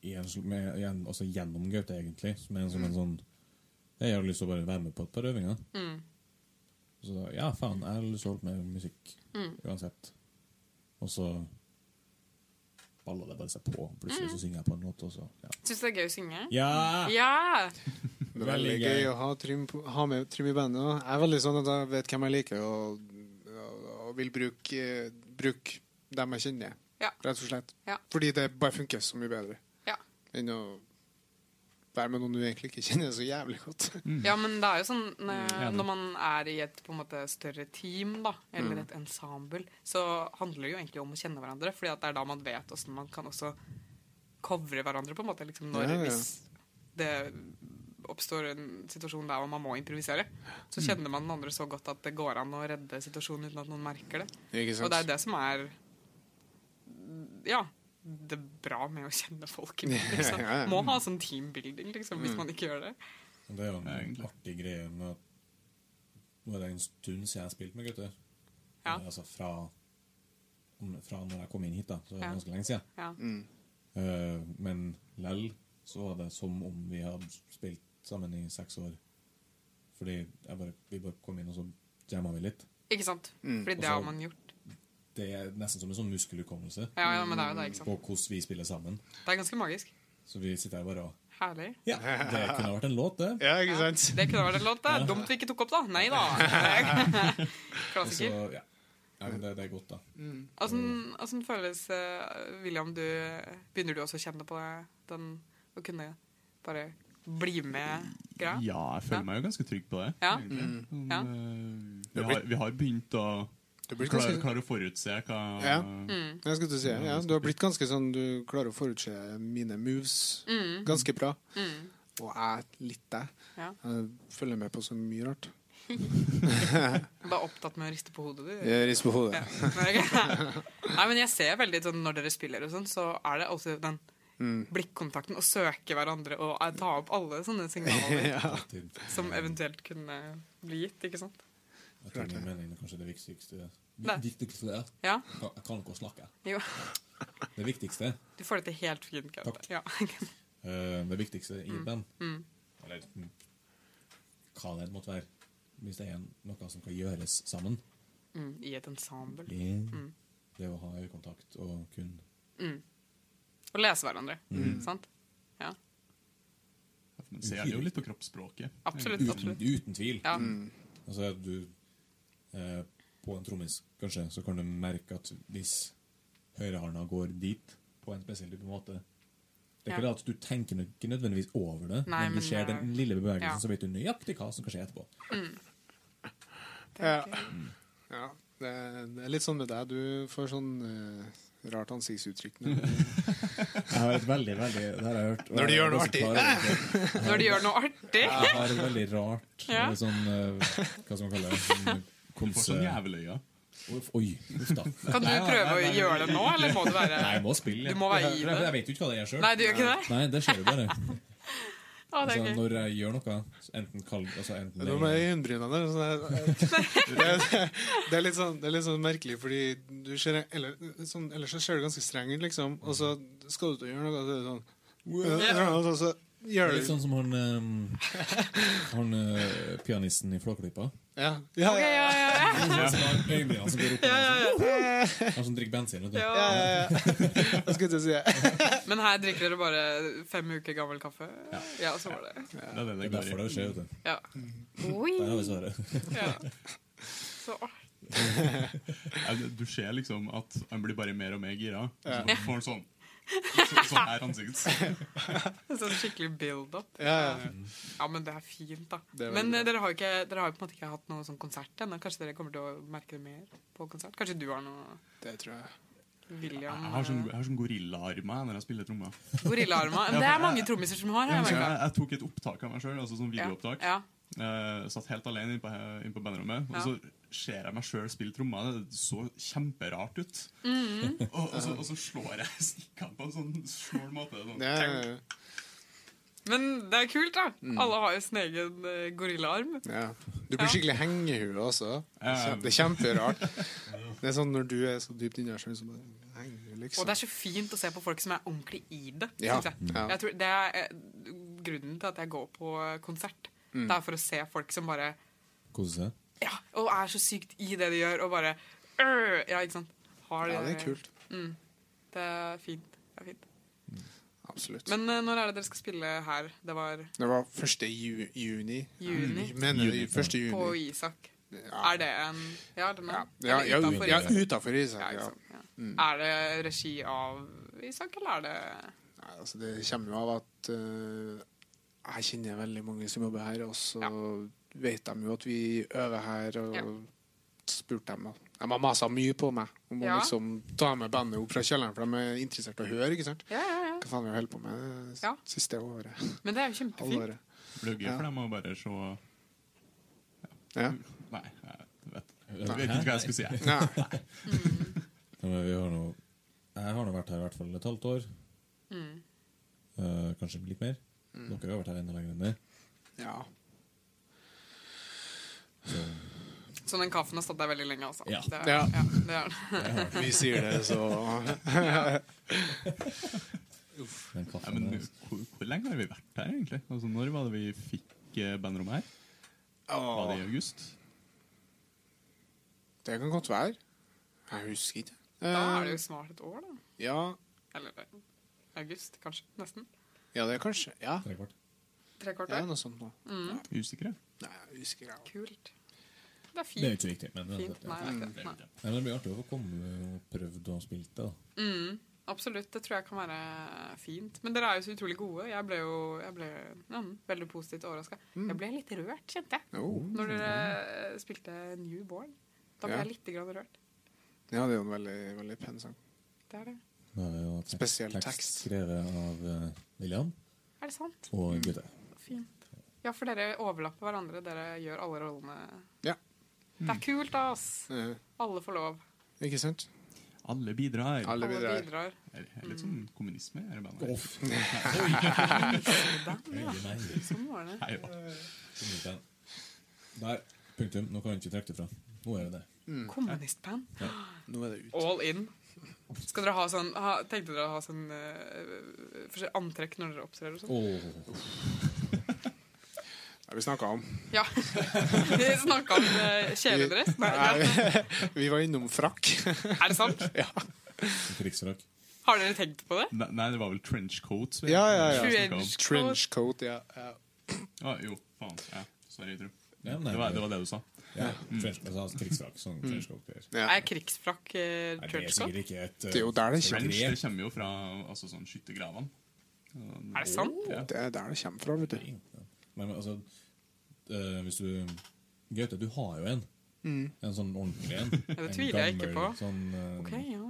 [SPEAKER 5] i en, sl- med, igjen, altså gjennom Gaute, egentlig. Som er en, som en sånn Jeg har lyst til å bare være med på et par øvinger. Så da, ja, faen, jeg har lyst til å holde på med musikk uansett. Og så balla det bare seg på. Plutselig så synger jeg på en låt, og så Ja!
[SPEAKER 4] syns du det er gøy å synge?
[SPEAKER 5] Mm. ja!
[SPEAKER 4] Ja!
[SPEAKER 2] Det er veldig
[SPEAKER 5] Veldig gøy.
[SPEAKER 2] gøy å ha, Trym, på- ha med Trym i bandet. og Jeg er veldig sånn at jeg vet hvem jeg liker, og, og- og vil bruke, eh, bruke dem jeg kjenner.
[SPEAKER 4] Ja.
[SPEAKER 2] Rett og slett.
[SPEAKER 4] Ja.
[SPEAKER 2] Fordi det bare funker så mye bedre
[SPEAKER 4] ja.
[SPEAKER 2] enn å være med noen du egentlig ikke kjenner så jævlig godt.
[SPEAKER 4] Ja, men det er jo sånn eh,
[SPEAKER 2] Mm,
[SPEAKER 6] enig.
[SPEAKER 4] Når man er i et på en måte større team, da,
[SPEAKER 2] Mm.
[SPEAKER 4] eller et ensemble, så handler det jo egentlig om å kjenne hverandre. Fordi at det er da man vet åssen man kan også covre hverandre, på en måte. Liksom når,
[SPEAKER 2] Ja, ja.
[SPEAKER 4] Hvis det oppstår en situasjon der hvor man må improvisere,
[SPEAKER 2] Mm.
[SPEAKER 4] så kjenner man den andre så godt at det går an å redde situasjonen uten at noen merker det.
[SPEAKER 2] Ikke sant?
[SPEAKER 4] Og det er det som er Ja. Det er bra med å kjenne folk. Liksom.
[SPEAKER 2] Ja, Mm. ja.
[SPEAKER 4] Må ha sånn teambuilding, liksom, hvis man ikke gjør det.
[SPEAKER 5] Men Det er jo en
[SPEAKER 6] Egentlig.
[SPEAKER 5] artig greie med at Nå er det en stund siden jeg har spilt med gutter.
[SPEAKER 4] Ja.
[SPEAKER 5] Eh, Altså fra, om, fra når jeg kom inn hit, da. Så er det
[SPEAKER 4] Ja.
[SPEAKER 5] ganske lenge siden.
[SPEAKER 4] Ja.
[SPEAKER 5] Eh, men lell så var det som om vi hadde spilt sammen i seks år. Fordi jeg bare, vi bare kom inn, og så jamma vi litt.
[SPEAKER 4] Ikke sant? Fordi
[SPEAKER 5] Og
[SPEAKER 4] det
[SPEAKER 5] så-
[SPEAKER 4] har man gjort.
[SPEAKER 5] Det er nesten som en sånn muskelhukommelse
[SPEAKER 4] Ja, ja, men det er jo det, ikke
[SPEAKER 5] på
[SPEAKER 4] sant?
[SPEAKER 5] hvordan vi spiller sammen.
[SPEAKER 4] Det er ganske magisk.
[SPEAKER 5] Så vi sitter her bare og
[SPEAKER 4] Herlig.
[SPEAKER 5] Ja, det kunne vært en låt, det.
[SPEAKER 2] Ja, ikke sant?
[SPEAKER 4] Det kunne vært en låt. det. Dumt vi ikke tok opp, da. Nei da.
[SPEAKER 5] Og så,
[SPEAKER 4] Klassiker.
[SPEAKER 5] ja. ja men det, det er godt, da.
[SPEAKER 4] Åssen åssen føles eh, William, du Begynner du også å kjenne på det? Den å kunne bare bli med greia?
[SPEAKER 6] Ja, jeg føler
[SPEAKER 4] Ja.
[SPEAKER 6] meg jo ganske trygg på det.
[SPEAKER 4] Ja.
[SPEAKER 6] egentlig. Sånn,
[SPEAKER 4] Ja.
[SPEAKER 6] eh,
[SPEAKER 2] Det
[SPEAKER 6] Vi,
[SPEAKER 2] blir-
[SPEAKER 6] har, vi har begynt å
[SPEAKER 2] Du blir
[SPEAKER 6] klare,
[SPEAKER 2] ganske,
[SPEAKER 6] klare å forutse hva
[SPEAKER 2] Ja.
[SPEAKER 4] Mm.
[SPEAKER 2] jeg skulle til å si, ja, du har blitt ganske sånn Du klarer å forutse mine moves
[SPEAKER 4] Mm.
[SPEAKER 2] ganske bra.
[SPEAKER 4] Mm.
[SPEAKER 2] Og jeg litt deg.
[SPEAKER 4] Ja.
[SPEAKER 2] Jeg følger med på så mye rart.
[SPEAKER 4] Bare opptatt med å riste på hodet, du?
[SPEAKER 2] Jeg rister på hodet.
[SPEAKER 4] Ja. Nei, men jeg ser veldig sånn når dere spiller og sånn, så er det alltid den blikkontakten å søke hverandre og eh, ta opp alle sånne signaler
[SPEAKER 2] Ja.
[SPEAKER 5] Til-
[SPEAKER 4] som eventuelt kunne bli gitt, ikke sant?
[SPEAKER 5] Jeg tror min mening er kanskje det viktigste.
[SPEAKER 4] Nei.
[SPEAKER 5] viktigste er at
[SPEAKER 4] Ja.
[SPEAKER 5] jeg kan- jeg kan ikke å snakke.
[SPEAKER 4] Jo.
[SPEAKER 5] Det viktigste
[SPEAKER 4] Du får det til helt fint, Gaute.
[SPEAKER 5] Takk.
[SPEAKER 4] Ja.
[SPEAKER 5] eh, Det viktigste
[SPEAKER 4] Mm.
[SPEAKER 5] i band Eller mm, hva det måtte være. Hvis det er en- noe som kan gjøres sammen.
[SPEAKER 4] Mm, I et ensemble. Mm.
[SPEAKER 5] Det å ha øyekontakt og kun
[SPEAKER 4] Og lese hverandre. Sant? Ja,
[SPEAKER 6] Men ser det jo litt på kroppsspråket.
[SPEAKER 4] absolutt.
[SPEAKER 5] Uten,
[SPEAKER 4] absolutt.
[SPEAKER 5] uten tvil.
[SPEAKER 4] Ja.
[SPEAKER 5] Altså, du eh, På en trommis, kanskje, så kan du merke at hvis høyrehånda går dit på en spesiell type måte Det er ikke
[SPEAKER 4] Ja.
[SPEAKER 5] det at du tenker nø- ikke nødvendigvis over det,
[SPEAKER 4] Nei,
[SPEAKER 5] men
[SPEAKER 4] men,
[SPEAKER 5] du ser
[SPEAKER 4] eh,
[SPEAKER 5] den lille
[SPEAKER 4] ja.
[SPEAKER 5] bevegelsen, så vet du nøyaktig hva som kan skje etterpå.
[SPEAKER 2] Ja. ja. Det det er litt sånn med deg. Du får sånn eh, rart ansiktsuttrykk. når du-
[SPEAKER 5] Jeg har et veldig, veldig Det har jeg hørt. og
[SPEAKER 2] Når du
[SPEAKER 5] jeg
[SPEAKER 2] gjør
[SPEAKER 5] er
[SPEAKER 2] noe
[SPEAKER 5] ganske
[SPEAKER 2] artig.
[SPEAKER 5] klar over det.
[SPEAKER 4] Når de gjør noe artig.
[SPEAKER 5] Jeg har et veldig rart
[SPEAKER 4] Ja.
[SPEAKER 5] eh, sånn eh, Hva skal man kalle det? Sånn
[SPEAKER 6] Du får sånn
[SPEAKER 5] Konse...
[SPEAKER 6] jæveløya.
[SPEAKER 5] Uff, Oi, uff da.
[SPEAKER 4] Kan du prøve å gjøre det nå, eller må du være
[SPEAKER 5] Nei, jeg må spille.
[SPEAKER 4] Du må være i
[SPEAKER 5] For jeg,
[SPEAKER 4] det.
[SPEAKER 5] jeg vet jo ikke hva det er sjøl.
[SPEAKER 4] Nei, du gjør ikke det?
[SPEAKER 5] Nei, det skjer jo bare.
[SPEAKER 4] Å, det
[SPEAKER 5] Altså,
[SPEAKER 4] er gøy.
[SPEAKER 5] når jeg gjør noe, enten kald altså, enten
[SPEAKER 2] Det er noe med øyenbrynene der. sånn der. Det, det, er litt sånn, det er litt sånn merkelig, fordi du ser eller, sånn, Ellers så ser du ganske streng ut, liksom, og så skal du til å gjøre noe, så er det sånn og så, så
[SPEAKER 5] Det
[SPEAKER 2] gjør
[SPEAKER 5] er
[SPEAKER 2] du
[SPEAKER 5] litt sånn som han, ehm, han eh, pianisten i Flåklypa.
[SPEAKER 2] Ja. ja,
[SPEAKER 4] Ja,
[SPEAKER 2] ja,
[SPEAKER 4] ja, ja, ja.
[SPEAKER 5] Han som har øyebrynene som går opp og ned, sånn. Han som drikker bensin. Vet du.
[SPEAKER 4] Ja.
[SPEAKER 2] ja, ja. Jeg skulle til å si det.
[SPEAKER 4] Men her drikker dere bare fem uker gammel kaffe? Ja, så var det.
[SPEAKER 6] Det er det
[SPEAKER 5] Det
[SPEAKER 6] det
[SPEAKER 5] er
[SPEAKER 6] går
[SPEAKER 5] derfor
[SPEAKER 6] i.
[SPEAKER 5] det skjer. Vet du.
[SPEAKER 4] Ja.
[SPEAKER 5] Der har vi svaret.
[SPEAKER 4] ja. Så artig.
[SPEAKER 6] Ja, du- Du ser liksom at han blir bare mer og mer gira. Så får han sånn så- Sånn her ansikt.
[SPEAKER 4] Sånn skikkelig build-up.
[SPEAKER 2] Ja, ja, ja.
[SPEAKER 4] Ja, men det er fint, da.
[SPEAKER 2] Det er veldig
[SPEAKER 4] Men eh,
[SPEAKER 2] bra.
[SPEAKER 4] dere har jo ikke, dere har jo på en måte ikke hatt noen sånn konsert ennå. Kanskje dere kommer til å merke det mer på konsert? Kanskje du har noe,
[SPEAKER 2] Det tror jeg.
[SPEAKER 4] William?
[SPEAKER 6] Jeg har sånn,
[SPEAKER 4] eh,
[SPEAKER 6] jeg har sånn gorillaarmer når jeg spiller trommer.
[SPEAKER 4] Gorillaarmer. Men Det er mange trommiser som har. har
[SPEAKER 6] Jeg,
[SPEAKER 4] jeg merket.
[SPEAKER 6] jeg tok et opptak av meg sjøl, altså sånn videoopptak.
[SPEAKER 4] Ja.
[SPEAKER 6] Eh, satt helt alene inn på, inn på bandrommet, og
[SPEAKER 4] Ja.
[SPEAKER 6] så ser jeg meg sjøl spille trommer. Det så kjemperart ut.
[SPEAKER 4] Mm.
[SPEAKER 6] og, og, så, og så slår jeg stikkene på en sånn snål måte. Sånn.
[SPEAKER 2] Det er,
[SPEAKER 4] Men det er kult, da.
[SPEAKER 2] Mm.
[SPEAKER 4] Alle har jo sin egen eh, gorillaarm.
[SPEAKER 2] ja. Du blir skikkelig hengehue også. Det er kjemperart. Det er sånn når du er så dypt inni deg sjøl, så bare henger du,
[SPEAKER 4] Og
[SPEAKER 2] liksom.
[SPEAKER 4] det er så fint å se på folk som er ordentlig i det.
[SPEAKER 2] Ja, Mm.
[SPEAKER 4] synes Jeg.
[SPEAKER 2] ja.
[SPEAKER 4] Jeg tror det er eh, grunnen til at jeg går på eh, konsert.
[SPEAKER 2] Mm.
[SPEAKER 4] Det er for å se folk som bare
[SPEAKER 5] Kose seg.
[SPEAKER 4] Ja, og er så sykt i det de gjør, og bare øh, Ja, ikke sant? Har
[SPEAKER 2] Ja, det er kult.
[SPEAKER 4] Det er fint. Det er fint.
[SPEAKER 2] Absolutt.
[SPEAKER 4] Men eh, når er det dere skal spille her? Det var
[SPEAKER 2] Det var 1. Ju juni. Mm,
[SPEAKER 4] Juni.
[SPEAKER 2] Mener du 1. juni?
[SPEAKER 4] på Isak.
[SPEAKER 2] Ja.
[SPEAKER 4] Er det en Ja, den
[SPEAKER 2] Ja,
[SPEAKER 4] er,
[SPEAKER 2] ja,
[SPEAKER 4] er det utenfor
[SPEAKER 2] ja,
[SPEAKER 4] Isak?
[SPEAKER 2] utenfor Isak.
[SPEAKER 4] Ja,
[SPEAKER 2] Ja, Mm.
[SPEAKER 4] Isak, ja. Er det regi av Isak, eller er det
[SPEAKER 2] Nei, altså, det kommer jo av at eh, jeg kjenner veldig mange som jobber her, og så vet de jo at vi øver her, og
[SPEAKER 4] Ja.
[SPEAKER 2] spurte dem. og De har masa mye på meg om å
[SPEAKER 4] Ja.
[SPEAKER 2] liksom ta med bandet opp fra kjelleren, for de er interessert i å høre, ikke sant?
[SPEAKER 4] Ja, ja, ja.
[SPEAKER 2] Hva faen vi har holdt på med det
[SPEAKER 4] Ja.
[SPEAKER 2] siste året?
[SPEAKER 4] Men det er jo kjempefint.
[SPEAKER 2] Halvåret.
[SPEAKER 6] Det blir jo gøy for dem å bare se
[SPEAKER 2] Ja.
[SPEAKER 6] Nei, jeg vet, jeg vet ikke hva jeg skulle si. jeg.
[SPEAKER 2] Ja.
[SPEAKER 5] Ja, men vi har nå Jeg har nå vært her i hvert fall et
[SPEAKER 4] Mm.
[SPEAKER 2] Mm.
[SPEAKER 5] halvt år. Eh, kanskje litt mer. Dere har vært her enda lenger enn det.
[SPEAKER 2] Ja.
[SPEAKER 4] Så Sånn den kaffen har stått der veldig lenge, altså.
[SPEAKER 5] Ja.
[SPEAKER 4] Det, er-
[SPEAKER 2] Ja.
[SPEAKER 4] ja, det er den.
[SPEAKER 2] Vi sier det, så
[SPEAKER 5] Den
[SPEAKER 6] Ja,
[SPEAKER 5] kaffen
[SPEAKER 6] men
[SPEAKER 5] der, altså.
[SPEAKER 6] hvor, hvor lenge har vi vært her, egentlig? Altså, Når var det vi fikk eh, bandrommet her? Var det i august?
[SPEAKER 2] Det kan godt være. Jeg husker ikke.
[SPEAKER 4] Da er
[SPEAKER 2] Eh.
[SPEAKER 4] det jo snart et år, da.
[SPEAKER 2] Ja,
[SPEAKER 4] Eller eh, august, kanskje. Nesten.
[SPEAKER 2] ja det er kanskje Ja,
[SPEAKER 5] Trekvart.
[SPEAKER 4] Tre kvart
[SPEAKER 2] det er
[SPEAKER 4] år.
[SPEAKER 2] noe sånt nå.
[SPEAKER 6] Usikre?
[SPEAKER 2] Nei, jeg husker ikke.
[SPEAKER 4] Kult. Det er
[SPEAKER 5] Det er jo
[SPEAKER 4] fint.
[SPEAKER 5] ikke viktig, men det,
[SPEAKER 4] Fint. Nei, det er
[SPEAKER 2] Mm.
[SPEAKER 4] ikke det. Nei.
[SPEAKER 5] Nei, men det blir artig å få komme og prøvd og spilt det. da.
[SPEAKER 4] Mm, Absolutt. Det tror jeg kan være fint. Men dere er jo så utrolig gode. Jeg ble jo jeg ble, ja, veldig positivt overraska. Jeg ble litt rørt, kjente jeg,
[SPEAKER 2] Oh.
[SPEAKER 4] når dere eh, spilte Newborn. Da ble
[SPEAKER 2] Ja.
[SPEAKER 4] jeg litt grann rørt.
[SPEAKER 2] Ja, det er jo en veldig, veldig pen sang.
[SPEAKER 4] Det er det.
[SPEAKER 5] Da er jo tekst,
[SPEAKER 2] Spesiell tekst.
[SPEAKER 5] skrevet av eh, William
[SPEAKER 4] Er det sant?
[SPEAKER 5] og Gutte.
[SPEAKER 4] Fint. Ja, for dere overlapper hverandre. Dere gjør alle rollene.
[SPEAKER 2] Ja.
[SPEAKER 4] Det er kult, ass!
[SPEAKER 2] Eh,
[SPEAKER 4] Alle får lov.
[SPEAKER 2] ikke sant?
[SPEAKER 6] Alle bidrar.
[SPEAKER 2] Alle
[SPEAKER 4] Alle
[SPEAKER 2] bidrar.
[SPEAKER 4] bidrar.
[SPEAKER 6] Er det litt sånn kommunisme i det bandet. her?
[SPEAKER 4] Den, ja.
[SPEAKER 5] Nei,
[SPEAKER 4] Sånn var det.
[SPEAKER 6] Nei, ja.
[SPEAKER 5] ikke den. Der. Punktum. Nå kan vi ikke trekke det fra. Nå er det det.
[SPEAKER 4] Kommunistband.
[SPEAKER 2] Nå er det ut.
[SPEAKER 4] All in. Skal dere ha sånn ha, Tenkte dere å ha sånn eh, forskjellig antrekk når dere opptrer og sånn?
[SPEAKER 5] Åh.
[SPEAKER 2] Ja, vi snakka om
[SPEAKER 4] Ja. Vi snakka om eh, kjeledress. Nei, ja.
[SPEAKER 2] Vi var innom frakk.
[SPEAKER 4] Er det sant?
[SPEAKER 5] Krigsfrakk.
[SPEAKER 4] Har dere tenkt på det?
[SPEAKER 6] Nei, nei, det var vel trenchcoats? vi-
[SPEAKER 2] Ja, ja,
[SPEAKER 6] vi
[SPEAKER 2] ja.
[SPEAKER 6] snakket om.
[SPEAKER 4] Trench-
[SPEAKER 2] Trenchcoat, ja. ja.
[SPEAKER 6] Ah, jo, faen. Ja, sorry, Tro.
[SPEAKER 5] Ja, nei,
[SPEAKER 6] Det var, det var det du sa.
[SPEAKER 5] Ja, trench- altså, krigsfrakk.
[SPEAKER 2] Mm.
[SPEAKER 5] Sånn trenchcoat-greier.
[SPEAKER 2] ja.
[SPEAKER 4] Er krigsfrakk eh,
[SPEAKER 5] Nei, Det er
[SPEAKER 4] trenchcoat?
[SPEAKER 5] sikkert ikke et eh,
[SPEAKER 2] Det er jo der det kommer.
[SPEAKER 6] Trench
[SPEAKER 5] Grep.
[SPEAKER 6] det kommer jo fra altså, sånn skyttergravene.
[SPEAKER 4] Er det sant?
[SPEAKER 2] Det er der det kommer fra, vet du.
[SPEAKER 5] Nei, men altså eh, Hvis du Gaute, du har jo en.
[SPEAKER 2] Mm.
[SPEAKER 5] En sånn ordentlig en.
[SPEAKER 4] det
[SPEAKER 5] En
[SPEAKER 4] tviler jeg ikke
[SPEAKER 5] gammel
[SPEAKER 4] på.
[SPEAKER 5] Sånn, eh,
[SPEAKER 4] Ok, ja.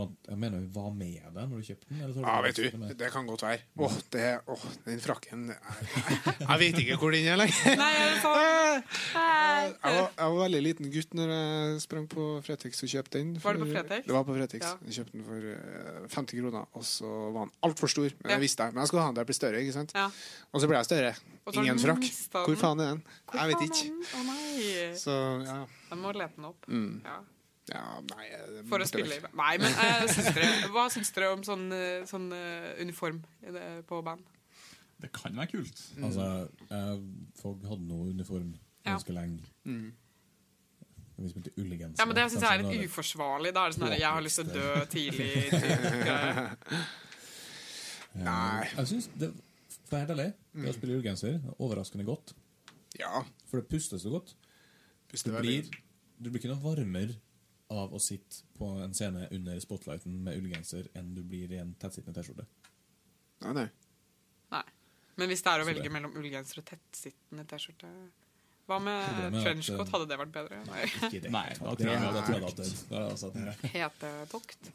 [SPEAKER 5] fant, jeg mener vi var med deg når du kjøpte den. Eller så
[SPEAKER 2] Ja, vet du, det kan godt være. Åh, det, åh den frakken jeg, jeg vet ikke hvor den er lenger.
[SPEAKER 4] Nei, er det sant?
[SPEAKER 2] Jeg var, jeg var veldig liten gutt når jeg sprang på Fretex og kjøpte den.
[SPEAKER 4] Var det på
[SPEAKER 2] for-
[SPEAKER 4] Fretex?
[SPEAKER 2] Det var på Fretex.
[SPEAKER 4] Ja.
[SPEAKER 2] Jeg kjøpte den for eh, 50 kroner, og så var den altfor stor. Men
[SPEAKER 4] Ja.
[SPEAKER 2] jeg visste det. Men jeg skulle ha den til jeg ble større, ikke sant?
[SPEAKER 4] Ja.
[SPEAKER 2] Og så ble jeg større.
[SPEAKER 4] Og så har
[SPEAKER 2] Ingen
[SPEAKER 4] du
[SPEAKER 2] frakk.
[SPEAKER 4] mistet den.
[SPEAKER 2] Hvor faen er den?
[SPEAKER 4] Hvor
[SPEAKER 2] jeg vet
[SPEAKER 4] faen er
[SPEAKER 2] ikke.
[SPEAKER 4] den? Å nei.
[SPEAKER 2] Så ja.
[SPEAKER 4] Jeg må lete den opp. Ja.
[SPEAKER 2] ja nei, eh, det
[SPEAKER 4] For å
[SPEAKER 2] måtte
[SPEAKER 4] spille i
[SPEAKER 2] vekk.
[SPEAKER 4] Nei, men eh, syns dere, hva syns dere om sånn, eh, sånn eh, uniform i det- på band?
[SPEAKER 6] Det kan være kult.
[SPEAKER 5] Altså,
[SPEAKER 2] mm.
[SPEAKER 5] jeg, folk hadde noe uniform ganske lenge.
[SPEAKER 2] Mm.
[SPEAKER 5] Vi spilte ullgenser.
[SPEAKER 4] Ja, men Det syns jeg er
[SPEAKER 5] Kanskje
[SPEAKER 4] litt
[SPEAKER 5] nå
[SPEAKER 4] uforsvarlig. Da er det sånn her, Jeg har lyst til å dø tidlig. tidlig.
[SPEAKER 2] Nei. Mm.
[SPEAKER 5] Jeg synes det, for helt ærlig, det å spille ullgenser er overraskende godt.
[SPEAKER 2] Ja.
[SPEAKER 5] For det pustes så godt.
[SPEAKER 2] Hvis
[SPEAKER 5] Du
[SPEAKER 2] det var
[SPEAKER 5] blir, du blir ikke noe varmere av å sitte på en scene under spotlighten med ullgenser enn du blir i en tettsittende T-skjorte.
[SPEAKER 2] Nei, nei.
[SPEAKER 4] Nei. Men hvis det er å
[SPEAKER 5] Så det-
[SPEAKER 4] velge mellom ullgenser og tettsittende T-skjorte Hva med
[SPEAKER 5] Problemet er at,
[SPEAKER 4] trenchcoat?
[SPEAKER 5] eh,
[SPEAKER 4] Hadde det vært bedre? Nei.
[SPEAKER 5] Ikke det.
[SPEAKER 6] Nei, da tror
[SPEAKER 5] Det-
[SPEAKER 6] jeg
[SPEAKER 5] da
[SPEAKER 6] det er
[SPEAKER 5] tror jeg det er altså, det er-
[SPEAKER 4] Hetetokt?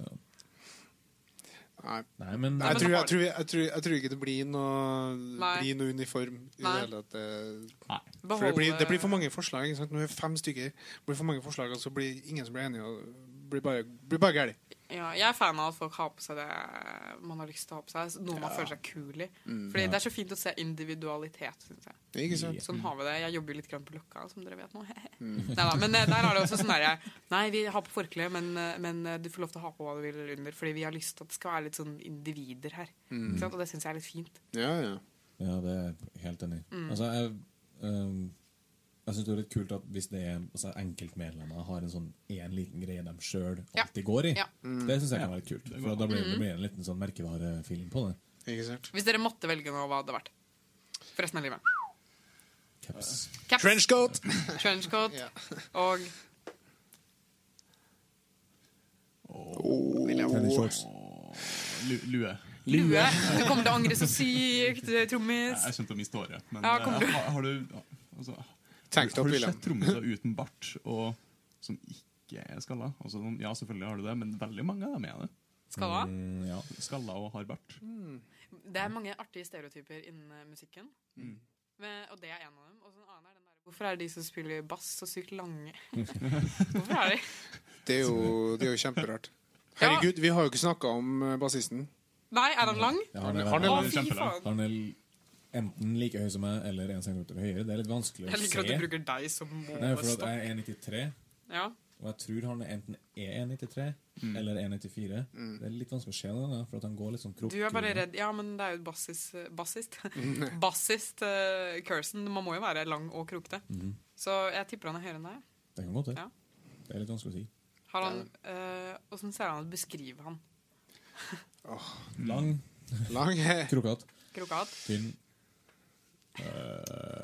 [SPEAKER 2] nei.
[SPEAKER 5] Nei, men
[SPEAKER 2] Nei, jeg,
[SPEAKER 4] men
[SPEAKER 2] tror,
[SPEAKER 4] har-
[SPEAKER 2] jeg, tror, jeg, tror, jeg tror ikke det blir noe,
[SPEAKER 4] Nei.
[SPEAKER 2] blir noe uniform. I det
[SPEAKER 4] Nei.
[SPEAKER 2] hele tatt. Det-
[SPEAKER 6] Nei.
[SPEAKER 2] For det, blir,
[SPEAKER 4] Beholde-
[SPEAKER 2] det blir for mange forslag. Ikke sant? Nå er det fem stykker. Det blir for mange forslag, og så blir ingen som blir enige. Og det blir bare, blir bare gærlig.
[SPEAKER 4] Ja, jeg er fan av at folk har på seg det man har lyst til å ha på seg. Noe man føler seg kul i.
[SPEAKER 2] Mm,
[SPEAKER 4] Fordi det er så fint å se individualitet, syns jeg.
[SPEAKER 2] Ikke sant?
[SPEAKER 4] Sånn har vi det. Jeg jobber jo litt grann på Løkka, som dere vet nå.
[SPEAKER 2] Mm.
[SPEAKER 4] Neida, men eh, der er det også sånn derre Nei, vi har på forkle, men, eh, men eh, du får lov til å ha på hva du vil under, fordi vi har lyst til at det skal være litt sånn individer her.
[SPEAKER 2] Mm.
[SPEAKER 4] Ikke sant? Og det syns jeg er litt fint.
[SPEAKER 2] Ja, ja.
[SPEAKER 5] Ja, det er jeg helt enig i. Altså, jeg um, jeg syns det er litt kult at hvis det er altså, enkeltmedlemmer har en sånn én liten greie de sjøl
[SPEAKER 4] Ja.
[SPEAKER 5] alltid går i,
[SPEAKER 4] Ja.
[SPEAKER 5] det syns jeg kan være litt kult. For da blir Mm. det blir en liten sånn merkevarefilm på det.
[SPEAKER 2] Ikke sant?
[SPEAKER 4] Hvis dere måtte velge nå, hva hadde det vært? For resten av livet.
[SPEAKER 5] Caps.
[SPEAKER 4] Caps,
[SPEAKER 2] Trenchcoat!
[SPEAKER 4] trenchcoat
[SPEAKER 2] Ja.
[SPEAKER 4] og
[SPEAKER 5] Tennis shorts.
[SPEAKER 6] Lu- Lue.
[SPEAKER 4] lue. Du kommer til å angre så sykt, eh, trommis.
[SPEAKER 6] Jeg kommer til å miste håret. Men
[SPEAKER 4] Ja, kommer
[SPEAKER 6] eh,
[SPEAKER 4] du-
[SPEAKER 6] har, har du altså,
[SPEAKER 2] Tenk deg
[SPEAKER 6] Har
[SPEAKER 2] opp,
[SPEAKER 6] du
[SPEAKER 2] William.
[SPEAKER 6] sett trommiser uten bart og som ikke er skalla? Altså, sånn, ja, selvfølgelig har du det, men veldig mange av dem er det.
[SPEAKER 4] Skal du ha?
[SPEAKER 5] Mm, ja.
[SPEAKER 6] Skalla og har bart.
[SPEAKER 4] Det er mange artige stereotyper innen eh, musikken.
[SPEAKER 5] Mm.
[SPEAKER 4] Men, og det er en av dem. Og så en annen er den der, hvorfor er de som spiller bass, så sykt lange? hvorfor er de
[SPEAKER 2] Det er jo, det er jo kjemperart. Herregud, vi har jo ikke snakka om eh, bassisten.
[SPEAKER 4] Nei, er han lang?
[SPEAKER 5] Ja, han er,
[SPEAKER 2] Arne-
[SPEAKER 4] Å,
[SPEAKER 5] han er,
[SPEAKER 4] fy
[SPEAKER 6] kjempelang.
[SPEAKER 4] faen!
[SPEAKER 5] han er enten like høy som meg eller en centimeter høyere. Det er litt vanskelig å
[SPEAKER 4] Jeg liker at
[SPEAKER 5] se.
[SPEAKER 4] du bruker deg som
[SPEAKER 5] Nei, for at
[SPEAKER 4] målestokk.
[SPEAKER 5] jeg er 1,93,
[SPEAKER 4] Ja.
[SPEAKER 5] og jeg tror han enten er 1,93 eller 1,94. Det er litt vanskelig å se noen ganger, for at han går litt sånn krukk.
[SPEAKER 4] Du er bare redd Ja, men det er jo bassist Bassist,
[SPEAKER 5] Mm.
[SPEAKER 4] bassist eh, Cursen. Man må jo være lang og krokete.
[SPEAKER 5] Mm.
[SPEAKER 4] Så jeg tipper han er høyere enn deg.
[SPEAKER 5] Det kan godt
[SPEAKER 4] Ja.
[SPEAKER 5] være. Det er litt vanskelig å si.
[SPEAKER 4] Har han, eh, Åssen ser han ut? Beskriv han.
[SPEAKER 5] Lang,
[SPEAKER 2] Lang
[SPEAKER 5] krokete,
[SPEAKER 4] Krokat?
[SPEAKER 5] tynn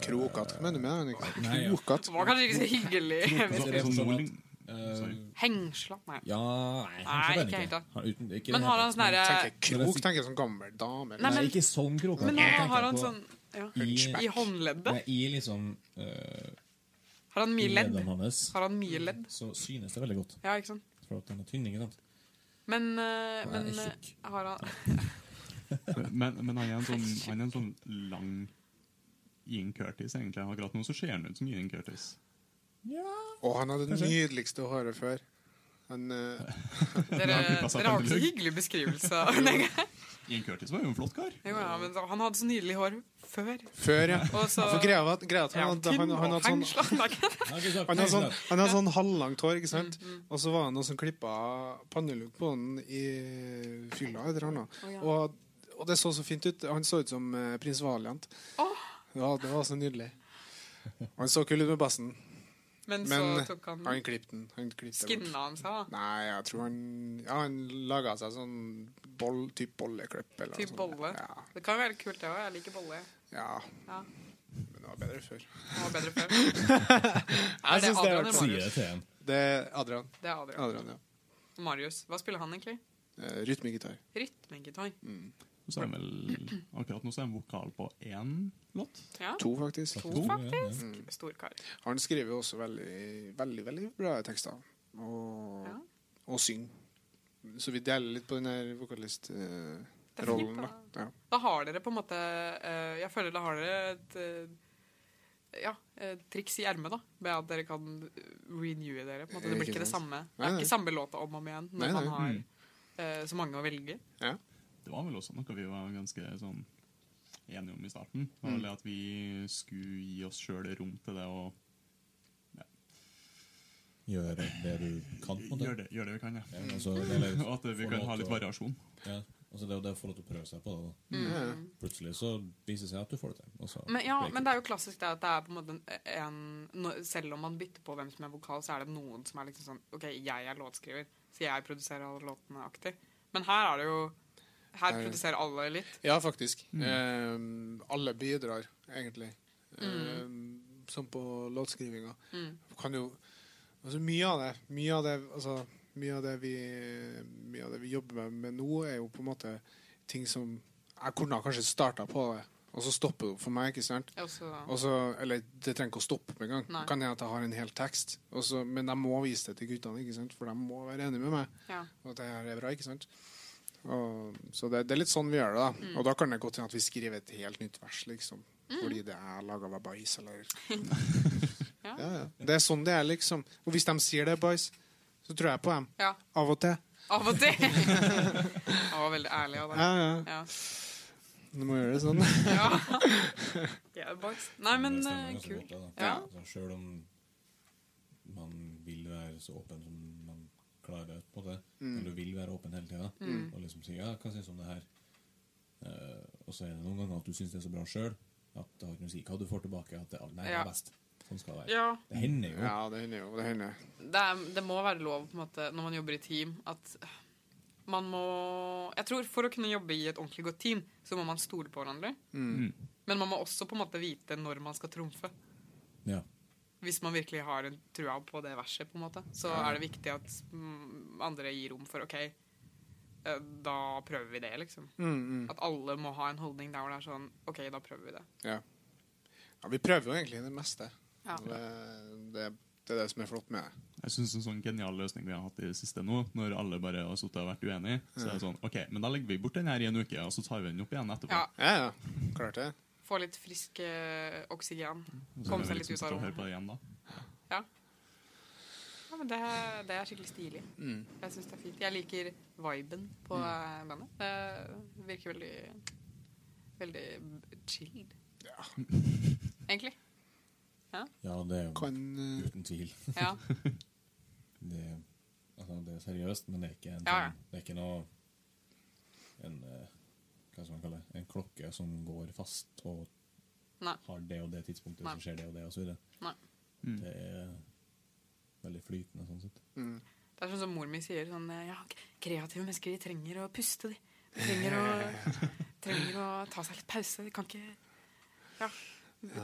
[SPEAKER 2] Krokatt, mener du med det?
[SPEAKER 5] Nei, ja.
[SPEAKER 2] Krokatt.
[SPEAKER 4] Det var kanskje ikke så hyggelig.
[SPEAKER 6] Sånn-
[SPEAKER 5] det er
[SPEAKER 6] sånn
[SPEAKER 5] sånn at-
[SPEAKER 6] nordling-
[SPEAKER 5] eh,
[SPEAKER 4] Hengsla? Nei.
[SPEAKER 5] Ja Nei,
[SPEAKER 4] Nei,
[SPEAKER 5] kanskje
[SPEAKER 4] ikke helt, da.
[SPEAKER 5] Han, uten, ikke
[SPEAKER 4] Men
[SPEAKER 5] det
[SPEAKER 4] har
[SPEAKER 5] hele
[SPEAKER 4] han
[SPEAKER 5] tatt,
[SPEAKER 4] sånn
[SPEAKER 5] men-
[SPEAKER 2] Tenker jeg
[SPEAKER 4] herre
[SPEAKER 2] krok, tenker jeg som gammel dame.
[SPEAKER 5] Nei,
[SPEAKER 2] Eller?
[SPEAKER 4] men-
[SPEAKER 5] ikke sånn krokete.
[SPEAKER 4] Men
[SPEAKER 5] Jeg
[SPEAKER 4] nå
[SPEAKER 5] tenker
[SPEAKER 4] har han
[SPEAKER 5] på-
[SPEAKER 4] sånn ja.
[SPEAKER 5] I-
[SPEAKER 4] I håndleddet?
[SPEAKER 5] Nei, I liksom eh,
[SPEAKER 4] Har han
[SPEAKER 5] i
[SPEAKER 4] mye ledd?
[SPEAKER 5] leddene hans
[SPEAKER 4] Har han mye ledd?
[SPEAKER 5] så synes det veldig godt.
[SPEAKER 4] Ja, ikke sant?
[SPEAKER 5] For at han er tynn, ikke sant?
[SPEAKER 4] Men, eh,
[SPEAKER 5] Han er
[SPEAKER 4] men eh,
[SPEAKER 5] tjukk.
[SPEAKER 4] har han
[SPEAKER 6] Men, men han er en sånn, han er en sånn lang Ian Curtis, egentlig. Akkurat nå så ser han ut som Ian Curtis.
[SPEAKER 2] Og han hadde det nydeligste håret før. Han, eh,
[SPEAKER 4] Dere,
[SPEAKER 6] har ikke passet
[SPEAKER 4] dere har
[SPEAKER 6] på
[SPEAKER 4] ikke så
[SPEAKER 6] lugg.
[SPEAKER 4] hyggelig beskrivelse. av det.
[SPEAKER 6] Ian Curtis var jo en flott kar.
[SPEAKER 4] Jo, ja, men så- han hadde så nydelig hår før.
[SPEAKER 2] før, ja.
[SPEAKER 4] Og så
[SPEAKER 2] Ja, for greia var at, greia var at
[SPEAKER 4] Ja,
[SPEAKER 2] han, hadde,
[SPEAKER 4] tynn
[SPEAKER 2] han, han
[SPEAKER 4] og
[SPEAKER 2] hadde sånn
[SPEAKER 4] hengsla. Nei, ikke-
[SPEAKER 5] Han er ikke så-
[SPEAKER 2] han hadde sånn,
[SPEAKER 5] Nei,
[SPEAKER 2] han hadde sånn halvlangt hår,
[SPEAKER 4] Mm,
[SPEAKER 2] ikke sant? Og så var det noen som klippa pannelugg på han i fylla eller noe.
[SPEAKER 4] ja.
[SPEAKER 2] Og, og det så så fint ut. Han så ut som eh, prins Valiant.
[SPEAKER 4] Åh.
[SPEAKER 2] Ja, det var så nydelig. Han så kul ut med bassen,
[SPEAKER 4] Men så
[SPEAKER 2] men eh,
[SPEAKER 4] tok han
[SPEAKER 2] han klippte den. Han klippte den bort.
[SPEAKER 4] skinna han seg, da.
[SPEAKER 2] Nei, jeg tror han Ja, han laga seg sånn boll, typ bolleklipp eller noe
[SPEAKER 4] Typ
[SPEAKER 2] sånt.
[SPEAKER 4] bolle.
[SPEAKER 2] Ja,
[SPEAKER 4] Det kan være kult, det òg. Jeg liker bolle.
[SPEAKER 2] ja.
[SPEAKER 4] Ja.
[SPEAKER 2] Men det var bedre før.
[SPEAKER 4] Det var bedre før. Er
[SPEAKER 2] synes
[SPEAKER 4] det
[SPEAKER 2] det er
[SPEAKER 4] Adrian eller
[SPEAKER 5] sånn- Sier det
[SPEAKER 4] Marius?
[SPEAKER 5] til ham.
[SPEAKER 2] Det er Adrian.
[SPEAKER 4] Det er Adrian.
[SPEAKER 2] Adrian ja.
[SPEAKER 4] Marius. Hva spiller han egentlig?
[SPEAKER 2] Eh, Rytmegitar.
[SPEAKER 4] Rytmegitar.
[SPEAKER 6] Så er han vel, akkurat nå så er han vokal på én låt.
[SPEAKER 4] Ja.
[SPEAKER 2] To, faktisk.
[SPEAKER 4] To,
[SPEAKER 5] To, ja,
[SPEAKER 2] Mm.
[SPEAKER 4] faktisk. Storkar.
[SPEAKER 2] Han skriver jo også veldig, veldig veldig bra tekster. Og,
[SPEAKER 4] Ja.
[SPEAKER 2] og synger. Så vi deler litt på den her vokalistrollen,
[SPEAKER 4] Det er fint,
[SPEAKER 2] da. Ja.
[SPEAKER 4] Da har dere på en måte eh, Jeg føler da har dere et eh, ja, eh, triks i ermet, da. Med at dere kan renewe dere. på en måte. Det blir
[SPEAKER 2] Ikke
[SPEAKER 4] ikke det
[SPEAKER 2] sant.
[SPEAKER 4] samme. Det
[SPEAKER 2] Nei,
[SPEAKER 4] er
[SPEAKER 2] nei.
[SPEAKER 4] ikke samme låta om og om igjen
[SPEAKER 2] Nei,
[SPEAKER 4] når man
[SPEAKER 2] nei. Mm.
[SPEAKER 4] har eh, så mange å velge.
[SPEAKER 2] Ja.
[SPEAKER 6] Det var vel også noe vi var ganske sånn enige om i starten. Det var vel det At vi skulle gi oss sjøl rom til det og
[SPEAKER 5] Gjør det du kan, på en måte.
[SPEAKER 6] gjøre det, gjør det vi kan. ja.
[SPEAKER 5] Ja, altså, det er litt-
[SPEAKER 6] Og at vi
[SPEAKER 5] få
[SPEAKER 6] kan
[SPEAKER 5] lov
[SPEAKER 6] ha
[SPEAKER 5] til
[SPEAKER 6] litt
[SPEAKER 5] å-
[SPEAKER 6] variasjon.
[SPEAKER 5] Ja, altså det, er jo det å få lov til å prøve seg på det. Da. Plutselig så viser det seg at du får det til. og så-
[SPEAKER 4] Men, ja, men det er jo klassisk det at det er på en måte en, en når- Selv om man bytter på hvem som er vokal, så er det noen som er liksom sånn OK, jeg er låtskriver, så jeg produserer alle låtene aktig. Men her er det jo Her
[SPEAKER 2] Her-
[SPEAKER 4] produserer alle litt.
[SPEAKER 2] Ja, faktisk. Eh, alle bidrar, egentlig. Eh, som på låtskrivinga. Kan jo Altså, mye av det Mye av det, altså, mye av det, vi, mye av det vi jobber med, med nå, er jo på en måte ting som Jeg kunne ha kanskje starta på det, og så stopper det opp for meg, ikke sant?
[SPEAKER 4] Og så-
[SPEAKER 2] Og så- eller det trenger ikke å stoppe med en gang.
[SPEAKER 4] Nei.
[SPEAKER 2] Kan hende at jeg har en hel tekst, og så- men jeg må vise det til guttene, ikke sant? for de må være enige med meg.
[SPEAKER 4] ja.
[SPEAKER 2] Og at det her er bra, ikke sant? Og, så det, det er litt sånn vi gjør det, da.
[SPEAKER 4] Mm.
[SPEAKER 2] Og da kan det godt hende at vi skriver et helt nytt vers, liksom. Fordi det er laga av bæsj, eller
[SPEAKER 4] Ja.
[SPEAKER 2] ja, ja. Det er sånn det er, liksom. Og hvis de sier det er bæsj, så tror jeg på dem.
[SPEAKER 4] ja.
[SPEAKER 2] Av og til.
[SPEAKER 4] Av og til. Han var veldig ærlig av
[SPEAKER 2] Ja,
[SPEAKER 4] deg.
[SPEAKER 2] ja.
[SPEAKER 4] Ja.
[SPEAKER 2] Du må gjøre det sånn.
[SPEAKER 4] ja. Yeah, boys. Nei, men
[SPEAKER 5] Det stemmer
[SPEAKER 4] eh,
[SPEAKER 5] ganske
[SPEAKER 4] kult.
[SPEAKER 5] godt, det, da.
[SPEAKER 4] Ja.
[SPEAKER 5] Altså, selv om man vil være så åpen som man klarer på det, eller du vil være åpen hele tida,
[SPEAKER 4] Mm.
[SPEAKER 5] og liksom si ja, hva syns du om det her? Eh, og så er det noen ganger at du syns det er så bra sjøl at det har ikke noe å si hva du får tilbake. At det er, nei, det
[SPEAKER 4] Ja.
[SPEAKER 5] er best. Sånn skal det være.
[SPEAKER 4] Ja,
[SPEAKER 5] Det hender jo.
[SPEAKER 2] Ja, det hender jo. Det hender.
[SPEAKER 4] det, er, det må være lov på en måte, når man jobber i team, at man må Jeg tror For å kunne jobbe i et ordentlig godt team, så må man stole på hverandre.
[SPEAKER 2] Mm.
[SPEAKER 6] Mm.
[SPEAKER 4] Men man må også på en måte vite når man skal trumfe.
[SPEAKER 5] Ja.
[SPEAKER 4] Hvis man virkelig har en trua på det verset, på en måte, så er det viktig at mm, andre gir rom for OK, eh, da prøver vi det, liksom.
[SPEAKER 2] Mm,
[SPEAKER 6] Mm.
[SPEAKER 4] At alle må ha en holdning der hvor det er sånn OK, da prøver vi det.
[SPEAKER 2] Ja. ja. Vi prøver jo egentlig det meste.
[SPEAKER 4] Ja.
[SPEAKER 2] Og Det, det, det er det som er flott med det.
[SPEAKER 6] Jeg synes En sånn genial løsning vi har hatt i det siste nå, når alle bare har suttet og vært uenige, så er det sånn OK, men da legger vi bort den her i en uke, og så tar vi den opp igjen etterpå.
[SPEAKER 4] Ja,
[SPEAKER 2] Ja, ja. Klart det.
[SPEAKER 4] Få litt frisk eh, oksygen.
[SPEAKER 6] Så
[SPEAKER 4] Komme
[SPEAKER 6] kan
[SPEAKER 4] seg
[SPEAKER 6] vi
[SPEAKER 4] litt ut
[SPEAKER 6] liksom
[SPEAKER 4] av
[SPEAKER 6] sitte og høre på
[SPEAKER 4] rommet.
[SPEAKER 6] det igjen da.
[SPEAKER 4] Ja. ja men det, det er skikkelig stilig.
[SPEAKER 2] Mm.
[SPEAKER 4] Jeg syns det er fint. Jeg liker viben på eh, bandet. Det virker veldig, veldig chill,
[SPEAKER 2] Ja,
[SPEAKER 4] egentlig.
[SPEAKER 5] Ja, det er jo
[SPEAKER 2] kan eh,
[SPEAKER 5] uten tvil.
[SPEAKER 4] Ja.
[SPEAKER 5] Det, altså, det er seriøst, men det er ikke en,
[SPEAKER 4] Ja, ja.
[SPEAKER 5] sånn- det er ikke noe en, eh, Hva skal man kalle det? En klokke som går fast og
[SPEAKER 4] Nei.
[SPEAKER 5] har det og det tidspunktet,
[SPEAKER 4] Nei.
[SPEAKER 5] så skjer det og det, og så videre.
[SPEAKER 4] Nei.
[SPEAKER 5] Det er veldig flytende, sånn sett.
[SPEAKER 4] Det er sånn som mor mi sier sånn Ja, kreative mennesker, de trenger å puste, de. De trenger å, trenger å ta seg litt pause. De kan ikke Ja.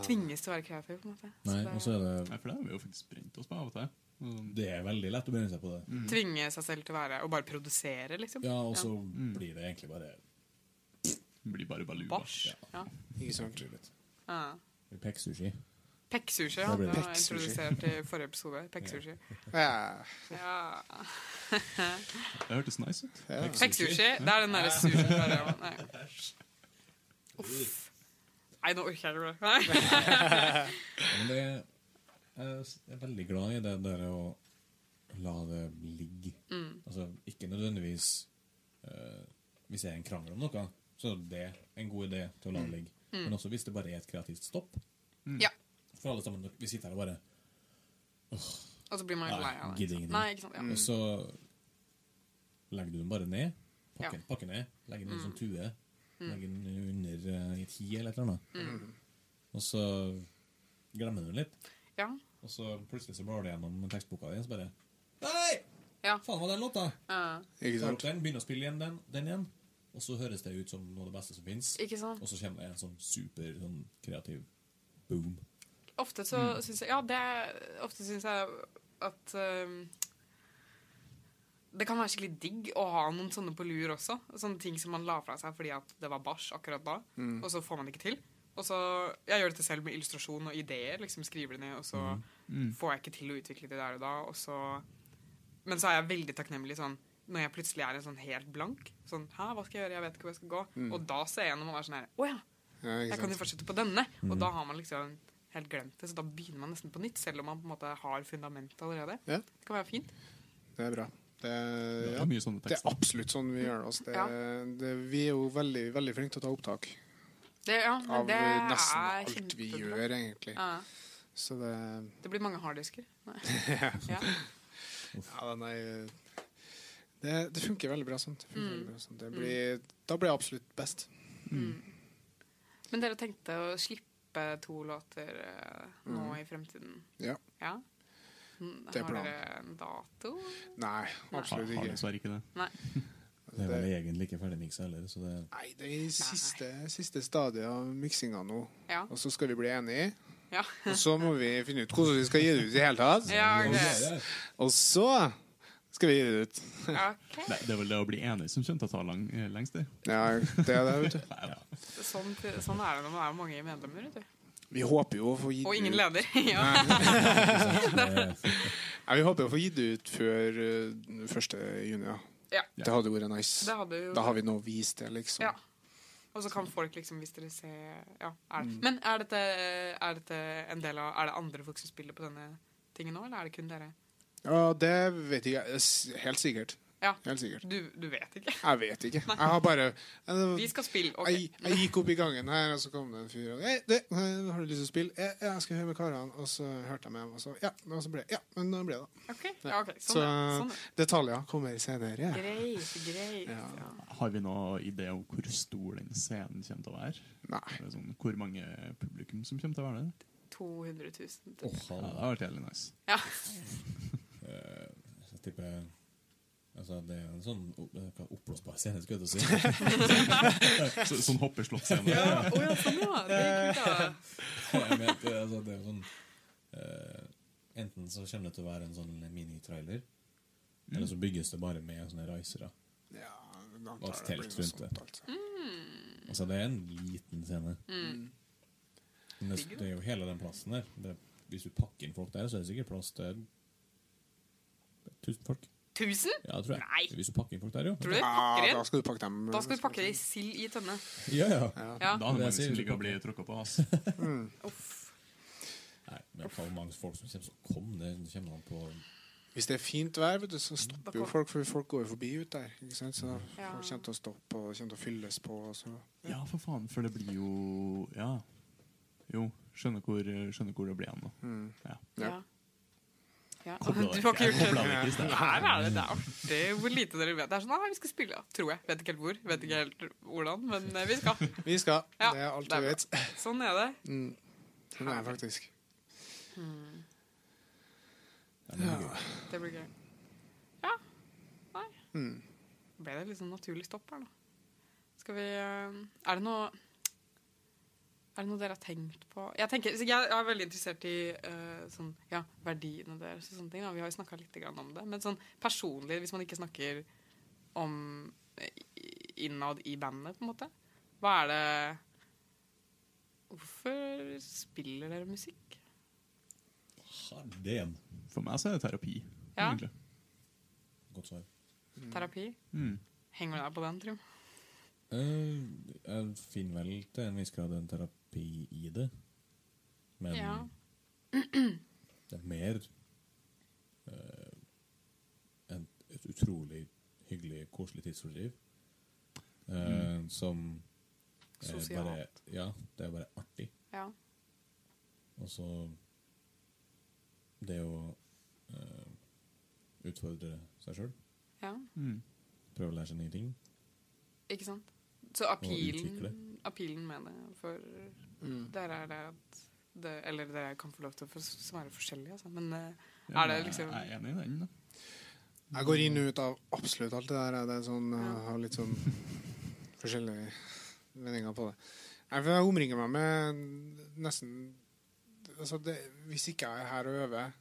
[SPEAKER 4] Tvinges til å være kreative, på en måte. Så
[SPEAKER 5] Nei, altså-
[SPEAKER 4] det-
[SPEAKER 5] og så er det
[SPEAKER 6] Nei, for det har vi jo faktisk brent oss på av og til. Sånn,
[SPEAKER 5] Det er veldig lett å begynne seg på det.
[SPEAKER 4] Mm. Tvinge seg selv til å være Og bare produsere, liksom.
[SPEAKER 5] Ja, og så blir det egentlig bare
[SPEAKER 6] Det blir bare baluba.
[SPEAKER 4] Bæsj. Ja.
[SPEAKER 2] Ikke sant.
[SPEAKER 4] Ja.
[SPEAKER 5] pekksushi.
[SPEAKER 4] Pekksushi, ja.
[SPEAKER 5] Da
[SPEAKER 4] Det
[SPEAKER 5] blir det
[SPEAKER 4] var
[SPEAKER 2] pekksushi.
[SPEAKER 4] introdusert i forrige episode. Pekksushi.
[SPEAKER 2] Ja,
[SPEAKER 4] Ja.
[SPEAKER 6] Det hørtes nice ut.
[SPEAKER 2] ja.
[SPEAKER 4] Pekksushi. Det er den derre sushi bare, Nei. Uff. Nei, nå orker jeg ikke det. Nei.
[SPEAKER 5] Men det jeg er veldig glad i det der å la det ligge. Altså, ikke nødvendigvis eh, Hvis det er en krangel om noe, så er det en god idé til å la det ligge. Men også hvis det bare er et kreativt stopp.
[SPEAKER 4] Ja.
[SPEAKER 5] For alle sammen, vi sitter her og bare
[SPEAKER 4] Og så blir man jo
[SPEAKER 5] Nei,
[SPEAKER 4] lei av det.
[SPEAKER 5] gidder
[SPEAKER 4] ikke sant?
[SPEAKER 5] ingenting.
[SPEAKER 4] Nei, ikke sant. Ja.
[SPEAKER 5] Og så legger du den bare ned. Pakker,
[SPEAKER 4] Ja.
[SPEAKER 5] pakker ned. Legger den i en sånn tue. Legger den under eh, i et hi eller et eller annet. Og så glemmer du den litt.
[SPEAKER 4] Ja.
[SPEAKER 5] Og så plutselig så blar du gjennom tekstboka di, og så bare Nei!
[SPEAKER 4] Ja.
[SPEAKER 5] Faen, var den låta?
[SPEAKER 4] Ja.
[SPEAKER 2] Ikke
[SPEAKER 5] Tar opp
[SPEAKER 2] sant.
[SPEAKER 5] den, begynner å spille igjen den, den igjen. Og så høres det ut som noe av det beste som fins.
[SPEAKER 4] Ikke sant?
[SPEAKER 5] Og så kommer det en sånn super sånn kreativ boom.
[SPEAKER 4] Ofte så syns jeg Ja, det er- Ofte syns jeg at øhm, det kan være skikkelig digg å ha noen sånne på lur også. Sånne ting som man la fra seg fordi at det var bæsj akkurat da. Og så får man det ikke til. Og så, Jeg gjør dette selv med illustrasjon og ideer. liksom Skriver det ned, og så får jeg ikke til å utvikle det der og da. Og så, men så er jeg veldig takknemlig sånn når jeg plutselig er en sånn helt blank. Sånn, Hæ, hva skal jeg gjøre? Jeg vet ikke hvor jeg skal gå. Og da ser jeg gjennom og er sånn her Å ja,
[SPEAKER 2] Ja, ikke
[SPEAKER 4] jeg
[SPEAKER 2] sant.
[SPEAKER 4] kan jo
[SPEAKER 2] Mm.
[SPEAKER 4] fortsette på denne. Og da har man liksom helt glemt det, så da begynner man nesten på nytt. Selv om man på en måte har fundamentet allerede.
[SPEAKER 2] Ja.
[SPEAKER 4] Det kan være fint.
[SPEAKER 2] Det er bra. Det,
[SPEAKER 6] Det
[SPEAKER 2] er-
[SPEAKER 6] er
[SPEAKER 2] ja,
[SPEAKER 6] mye sånne
[SPEAKER 2] det er
[SPEAKER 6] tekster.
[SPEAKER 2] absolutt sånn vi gjør det, altså.
[SPEAKER 4] Ja.
[SPEAKER 2] det. Det, vi er jo veldig, veldig flinke til å ta opptak
[SPEAKER 4] Det, ja, men
[SPEAKER 2] av
[SPEAKER 4] det
[SPEAKER 2] nesten
[SPEAKER 4] er
[SPEAKER 2] alt vi
[SPEAKER 4] kjempebra.
[SPEAKER 2] gjør, egentlig.
[SPEAKER 4] Ja.
[SPEAKER 2] Så det
[SPEAKER 4] Det blir mange harddisker. Nei. Ja.
[SPEAKER 2] Ja, nei det, det funker veldig bra sånn. Det
[SPEAKER 4] Mm.
[SPEAKER 2] funker veldig bra sånn. Det blir, da blir jeg absolutt best.
[SPEAKER 4] Men dere tenkte å slippe to låter eh, nå i fremtiden?
[SPEAKER 2] Ja.
[SPEAKER 4] Ja? Mm,
[SPEAKER 2] Mm. Det er
[SPEAKER 4] Har
[SPEAKER 2] planen.
[SPEAKER 4] dere en dato?
[SPEAKER 2] Nei,
[SPEAKER 6] Har,
[SPEAKER 2] absolutt
[SPEAKER 6] har
[SPEAKER 2] ikke.
[SPEAKER 6] dessverre ikke altså, det.
[SPEAKER 5] Det er
[SPEAKER 2] Altså, Det-
[SPEAKER 5] vel egentlig ikke ferdig miksa heller, så det
[SPEAKER 2] Nei, det er i siste, siste stadiet av miksinga nå.
[SPEAKER 4] Ja.
[SPEAKER 2] Og så skal vi bli enige,
[SPEAKER 4] Ja.
[SPEAKER 2] og så må vi finne ut hvordan vi skal gi det ut i det hele tatt.
[SPEAKER 4] ja ok.
[SPEAKER 5] Ja,
[SPEAKER 2] Og så skal vi gi det ut.
[SPEAKER 4] Ok.
[SPEAKER 6] Nei, Det er vel det å bli enig som kommer til å ta lang, eh, lengst tid.
[SPEAKER 2] Ja, det er det, vet du.
[SPEAKER 4] Sånn, sånn er det når man er mange medlemmer. vet du.
[SPEAKER 2] Vi håper jo å få gitt
[SPEAKER 4] Og
[SPEAKER 2] ut
[SPEAKER 4] ingen leder. ja.
[SPEAKER 2] Nei, Vi håper å få gitt det ut før eh, 1. juni. Ja.
[SPEAKER 4] Ja.
[SPEAKER 2] Det hadde vært nice.
[SPEAKER 4] Det hadde jo
[SPEAKER 2] Da har vi nå vist det, liksom.
[SPEAKER 4] Ja. Og så kan folk liksom, hvis dere ser ja, er
[SPEAKER 2] Mm.
[SPEAKER 4] det. Men er dette, er dette en del av Er det andre folk som spiller på denne tingen nå, eller er det kun dere?
[SPEAKER 2] Ja, det vet jeg ikke. S- Helt sikkert.
[SPEAKER 4] Ja.
[SPEAKER 2] Helt sikkert.
[SPEAKER 4] Du, du vet ikke.
[SPEAKER 2] Jeg vet ikke. Jeg har bare
[SPEAKER 4] Vi
[SPEAKER 2] jeg,
[SPEAKER 4] skal spille.
[SPEAKER 2] jeg,
[SPEAKER 4] ok.
[SPEAKER 2] jeg gikk opp i gangen her, og så kom det en fyr og Hei, du, eh, har du lyst til å spille? Ja, ja, jeg skal høre med karene. Og så hørte jeg med dem, og så Ja, og så ble det. Ja, men da ble det.
[SPEAKER 4] Ok, Ja, ok.
[SPEAKER 2] Så
[SPEAKER 4] Sånn, er det. sånn. er det.
[SPEAKER 2] detaljer kommer senere.
[SPEAKER 4] Greit, greit.
[SPEAKER 2] Ja.
[SPEAKER 4] Ja.
[SPEAKER 6] Har vi noen idé om hvor stor den scenen kommer til å være?
[SPEAKER 2] Nei.
[SPEAKER 6] Er det Sånn, hvor mange publikum som kommer til å være der?
[SPEAKER 4] 200 000. til.
[SPEAKER 6] Ja, det har vært jævlig nice.
[SPEAKER 5] Jeg tipper Altså, det er en sånn opp- hva, oppblåsbar scene, skulle jeg til å si.
[SPEAKER 6] Så, sånn hoppeslåttscene.
[SPEAKER 4] Å ja, sånn, ja. Det er kult, da.
[SPEAKER 5] Jeg mente, altså, det er jo sånn eh, Enten så kommer det til å være en sånn minitrailer, eller så bygges det bare med sånne raisere.
[SPEAKER 2] Ja, da
[SPEAKER 5] Og
[SPEAKER 2] tar det
[SPEAKER 5] telt
[SPEAKER 2] blir noe
[SPEAKER 5] rundt
[SPEAKER 2] sånt,
[SPEAKER 5] det.
[SPEAKER 2] altså.
[SPEAKER 4] Mm,
[SPEAKER 5] Altså, det er en liten scene. Men det, det er jo hele den plassen der. Det, hvis du pakker inn folk der, så er det sikkert plass til 1000 folk.
[SPEAKER 4] 1000?
[SPEAKER 5] Ja, tror jeg.
[SPEAKER 4] Nei.
[SPEAKER 5] Hvis du pakker inn folk der, jo.
[SPEAKER 4] Tror du det?
[SPEAKER 2] Ja, da
[SPEAKER 4] Pakker inn?
[SPEAKER 2] skal du pakke dem.
[SPEAKER 4] Da skal vi pakke det i sild i tønne.
[SPEAKER 5] Ja, ja.
[SPEAKER 4] Ja.
[SPEAKER 6] Da hadde
[SPEAKER 5] Det
[SPEAKER 6] mange
[SPEAKER 5] sier
[SPEAKER 6] som
[SPEAKER 5] vi
[SPEAKER 6] ligger og
[SPEAKER 5] på.
[SPEAKER 6] blir tråkka på. ass.
[SPEAKER 4] Uff.
[SPEAKER 5] Nei, men for mange folk som kommer, så kom det, det kommer an på
[SPEAKER 2] Hvis det er fint vær, vet du, så stopper jo
[SPEAKER 4] Da kom-
[SPEAKER 2] folk, for folk går jo forbi ut der. Ikke sant? Så
[SPEAKER 4] Ja.
[SPEAKER 2] folk kommer til å stoppe og kommer til å fylles på. Og så.
[SPEAKER 6] Ja, for faen, for det blir jo Ja. Jo, skjønner hvor, skjønner hvor det blir hen nå. Ja.
[SPEAKER 4] Ja.
[SPEAKER 2] Ja.
[SPEAKER 4] Ja. Du
[SPEAKER 6] Kobla
[SPEAKER 4] har ikke
[SPEAKER 6] Jeg
[SPEAKER 4] gjort
[SPEAKER 6] kobla
[SPEAKER 4] det?
[SPEAKER 6] meg ikke i sted.
[SPEAKER 4] Her er det, det er artig hvor lite dere vet. Det er sånn, nei, vi skal spille, da», tror jeg. Vet ikke helt hvor, vet ikke helt hvordan, men eh, vi skal.
[SPEAKER 2] Vi skal.
[SPEAKER 4] Ja,
[SPEAKER 2] det er alt
[SPEAKER 4] det er
[SPEAKER 2] vi vet.
[SPEAKER 4] Sånn er det.
[SPEAKER 2] Mm. Nei, faktisk.
[SPEAKER 4] Det blir gøy. Ja. Hmm. Nei. Ble det litt sånn naturlig stopp her, da? Skal vi eh, Er det noe er det noe dere har tenkt på? Jeg, tenker, så jeg er veldig interessert i eh, sånn, ja, verdiene deres. og sånne ting. Da. Vi har jo snakka litt grann om det. Men sånn personlig, hvis man ikke snakker om eh, i- innad i bandet, på en måte Hva er det Hvorfor spiller dere musikk?
[SPEAKER 5] Harden.
[SPEAKER 6] For meg så er det terapi.
[SPEAKER 4] Ja.
[SPEAKER 6] egentlig.
[SPEAKER 5] Godt svar.
[SPEAKER 4] Terapi?
[SPEAKER 6] Mm.
[SPEAKER 4] Henger du deg på den, Trym?
[SPEAKER 5] Eh, jeg finner vel til en viss grad en terapi i det. Men
[SPEAKER 4] Ja.
[SPEAKER 5] det er mer eh, en, et utrolig hyggelig, koselig tidsfordriv. eh, Som er
[SPEAKER 4] Mm. Sosialt.
[SPEAKER 5] Bare, ja, det er bare artig.
[SPEAKER 4] Ja.
[SPEAKER 5] Og så det å eh, utfordre seg sjøl.
[SPEAKER 4] Ja,
[SPEAKER 6] Mm.
[SPEAKER 5] Prøve å lære seg nye ting.
[SPEAKER 4] ikke sant? Så appealen,
[SPEAKER 5] utvikle.
[SPEAKER 4] appealen med det for
[SPEAKER 2] Mm.
[SPEAKER 4] dere er det at det, Eller dere kan få lov til å få- som er forskjellige, altså. Men eh,
[SPEAKER 6] Ja,
[SPEAKER 4] er det
[SPEAKER 6] men jeg-
[SPEAKER 4] liksom
[SPEAKER 6] Jeg er enig i den. da.
[SPEAKER 2] Jeg går inn og ut av absolutt alt det der. jeg. Det er sånn, jeg
[SPEAKER 4] Ja.
[SPEAKER 2] har litt sånn forskjellige meninger på det. Jeg, for jeg omringer meg med nesten altså det, Hvis ikke jeg er her og øver,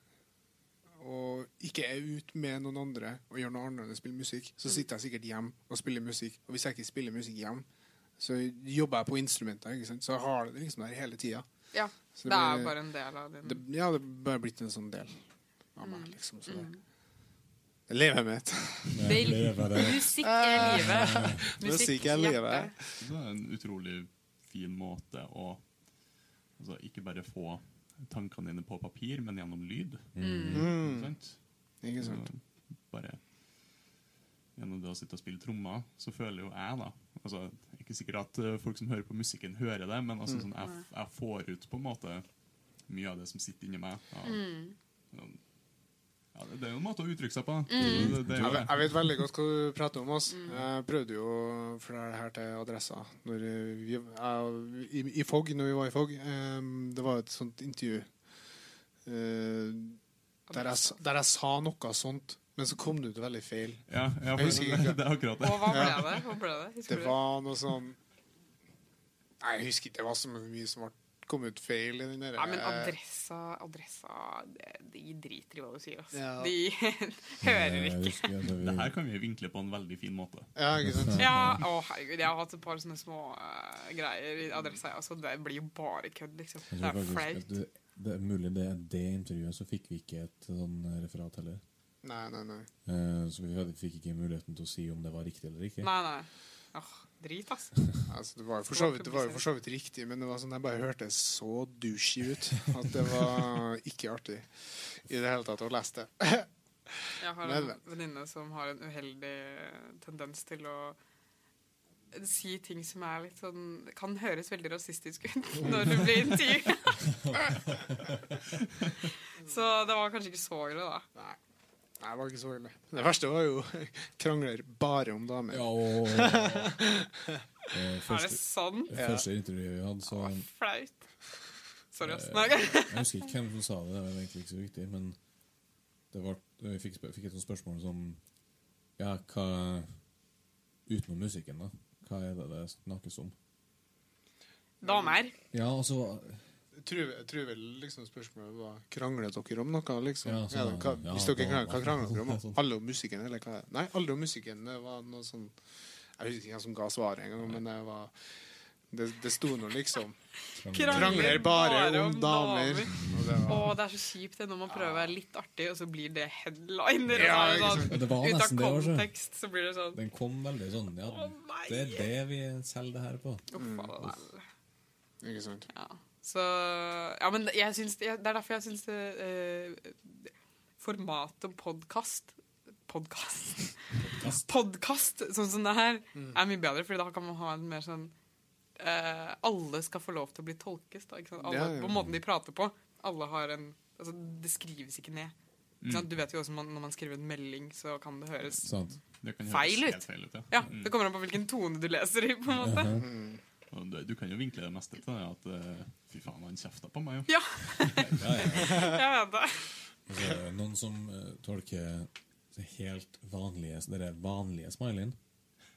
[SPEAKER 2] og ikke er ute med noen andre og gjør noe annet enn å spille musikk,
[SPEAKER 4] Mm.
[SPEAKER 2] så sitter jeg sikkert hjemme og spiller musikk. Og hvis jeg ikke spiller musikk hjemme, så jobber jeg på instrumenter. Ikke sant? Så jeg har det liksom der hele tida.
[SPEAKER 4] Ja,
[SPEAKER 2] Så
[SPEAKER 4] det,
[SPEAKER 2] det
[SPEAKER 4] er
[SPEAKER 2] blir-
[SPEAKER 4] bare en del av din
[SPEAKER 2] Det, ja, det er bare blitt en sånn del av
[SPEAKER 4] Mm.
[SPEAKER 2] meg, liksom. Så det, jeg lever med det.
[SPEAKER 4] Det-
[SPEAKER 5] Jeg lever av det.
[SPEAKER 4] Musikk
[SPEAKER 2] Ah.
[SPEAKER 4] er livet.
[SPEAKER 2] Musikk er livet.
[SPEAKER 4] hjerte.
[SPEAKER 6] Så det er en utrolig fin måte å altså, ikke bare få tankene dine på papir, men gjennom lyd.
[SPEAKER 4] Mm.
[SPEAKER 5] Mm.
[SPEAKER 6] Ikke sant?
[SPEAKER 2] Mm. Ikke
[SPEAKER 6] Så
[SPEAKER 2] sant?
[SPEAKER 6] bare gjennom det å sitte og spille trommer, så føler jo jeg, da altså, Det er ikke sikkert at eh, folk som hører på musikken, hører det, men
[SPEAKER 2] Mm.
[SPEAKER 6] altså, sånn, jeg, jeg får ut på en måte mye av det som sitter inni meg. Av,
[SPEAKER 4] Mm.
[SPEAKER 6] sånn- ja, det, det er jo en måte å uttrykke seg på.
[SPEAKER 4] Mm.
[SPEAKER 6] da. Det, det er
[SPEAKER 2] Jeg
[SPEAKER 6] jo,
[SPEAKER 2] vet, jeg vet veldig godt hva du prater om. Oss. Jeg prøvde jo å flere her til adressa når vi, jeg, i, i FOG, når vi var i FOG. em, det var et sånt intervju eh, der, jeg, s- der jeg sa noe sånt, men så kom det ut veldig feil.
[SPEAKER 6] ja, ja,
[SPEAKER 2] Jeg husker
[SPEAKER 6] for,
[SPEAKER 2] ikke.
[SPEAKER 6] det er akkurat det.
[SPEAKER 4] Og hva ble det? Hva ble det? Husker
[SPEAKER 2] Det
[SPEAKER 4] du
[SPEAKER 2] var noe sånn Nei, Jeg husker ikke. Det var så mye som var- kom ut feil i den eh, derre
[SPEAKER 4] Nei, men adressa, adressa det- De driter i hva du sier, altså.
[SPEAKER 2] Ja.
[SPEAKER 4] De hører
[SPEAKER 5] Jeg
[SPEAKER 4] ikke.
[SPEAKER 5] husker at vi-
[SPEAKER 6] Det her kan vi vinkle på en veldig fin måte.
[SPEAKER 2] Ja, ikke sant?
[SPEAKER 4] Ja, å herregud, jeg har hatt et par sånne små eh, greier i adressa, jeg også. Det blir jo bare kødd, liksom.
[SPEAKER 5] Jeg
[SPEAKER 4] Det
[SPEAKER 5] tror
[SPEAKER 4] er
[SPEAKER 5] faktisk at
[SPEAKER 4] flaut.
[SPEAKER 5] det, det er mulig det er det intervjuet, så fikk vi ikke et sånn referat heller.
[SPEAKER 2] Nei, nei, nei.
[SPEAKER 5] Eh, så vi hadde- fikk ikke muligheten til å si om det var riktig eller ikke.
[SPEAKER 4] Nei, nei. Åh, drit, altså.
[SPEAKER 2] Altså, det, var jo for så vidt, det var jo for så vidt riktig, men det var sånn, jeg bare hørte så douchey ut at det var ikke artig i det hele tatt å lese det.
[SPEAKER 4] Jeg har
[SPEAKER 2] Men,
[SPEAKER 4] en
[SPEAKER 2] men.
[SPEAKER 4] venninne som har en uheldig tendens til å si ting som er litt sånn Kan høres veldig rasistisk ut når du blir intervjuet. Så det var kanskje ikke så ille, da.
[SPEAKER 2] Nei, Nei, det var ikke så ille. Det verste var jo krangler bare om damer.
[SPEAKER 5] Ja, og, eh,
[SPEAKER 4] Er det
[SPEAKER 5] første,
[SPEAKER 4] sant?
[SPEAKER 5] første intervjuet vi hadde, så eh,
[SPEAKER 4] Flaut. Sorry, ass. Nei.
[SPEAKER 5] Jeg husker ikke hvem som sa det, det var egentlig ikke så viktig, men det var, vi fikk, sp- fikk et sånt spørsmål som Ja, hva Utenom musikken, da. Hva er det det snakkes om?
[SPEAKER 4] Damer.
[SPEAKER 5] Ja, altså, og så
[SPEAKER 2] Jeg tror, jeg tror vel liksom spørsmålet var Kranglet dere om noe, liksom?
[SPEAKER 5] Ja,
[SPEAKER 2] Ja,
[SPEAKER 5] sånn,
[SPEAKER 2] hva,
[SPEAKER 5] ja,
[SPEAKER 2] hvis dere
[SPEAKER 5] hva-
[SPEAKER 2] krangler, hva
[SPEAKER 5] hva-
[SPEAKER 2] krangler dere om?
[SPEAKER 5] sånn.
[SPEAKER 2] Alle om musikken, eller hva? Nei, alle om musikken. Det var noe sånn Jeg husker ikke hvem som ga svaret engang, men det var Det, det sto nå liksom Krangler bare om damer. Og det
[SPEAKER 4] Å,
[SPEAKER 2] var
[SPEAKER 4] det er så kjipt det når man prøver å være litt artig, og så blir det headliner.
[SPEAKER 2] Ja,
[SPEAKER 4] og så
[SPEAKER 2] ikke
[SPEAKER 4] er det
[SPEAKER 5] sant. Det var
[SPEAKER 4] sånn, ut av
[SPEAKER 5] nesten det altså. også.
[SPEAKER 4] kontekst så blir det sånn
[SPEAKER 5] Den kom veldig sånn Ja,
[SPEAKER 4] Å, nei.
[SPEAKER 5] det er det vi selger det her på.
[SPEAKER 4] Uff, da, da.
[SPEAKER 2] Ikke sant?
[SPEAKER 4] Ja. Så Ja, men jeg syns, jeg, det er derfor jeg syns uh, formatet podkast Podkast? Podkast, sånn som det her,
[SPEAKER 2] Mm.
[SPEAKER 4] er mye bedre, Fordi da kan man ha en mer sånn eh, Alle skal få lov til å bli tolkes, da. Ikke sant? Alle,
[SPEAKER 2] Ja, ja.
[SPEAKER 4] På måten de prater på. Alle har en altså, Det skrives ikke ned. Ikke
[SPEAKER 2] Mm.
[SPEAKER 4] sant? Du vet jo også man, når man skriver en melding, så kan det høres
[SPEAKER 5] Sant?
[SPEAKER 6] Det kan
[SPEAKER 4] Feil ut.
[SPEAKER 6] høres helt Feil ut ja.
[SPEAKER 4] Ja, Det kommer an på hvilken tone du leser i, på en måte.
[SPEAKER 6] Og du, du kan jo vinkle det meste til det at eh, Fy faen, han kjefta på meg, jo.
[SPEAKER 4] Ja,
[SPEAKER 5] Ja, ja.
[SPEAKER 4] jeg vet det.
[SPEAKER 5] Og så er det Altså, Noen som eh, tolker så helt vanlige så det er vanlige smileyen.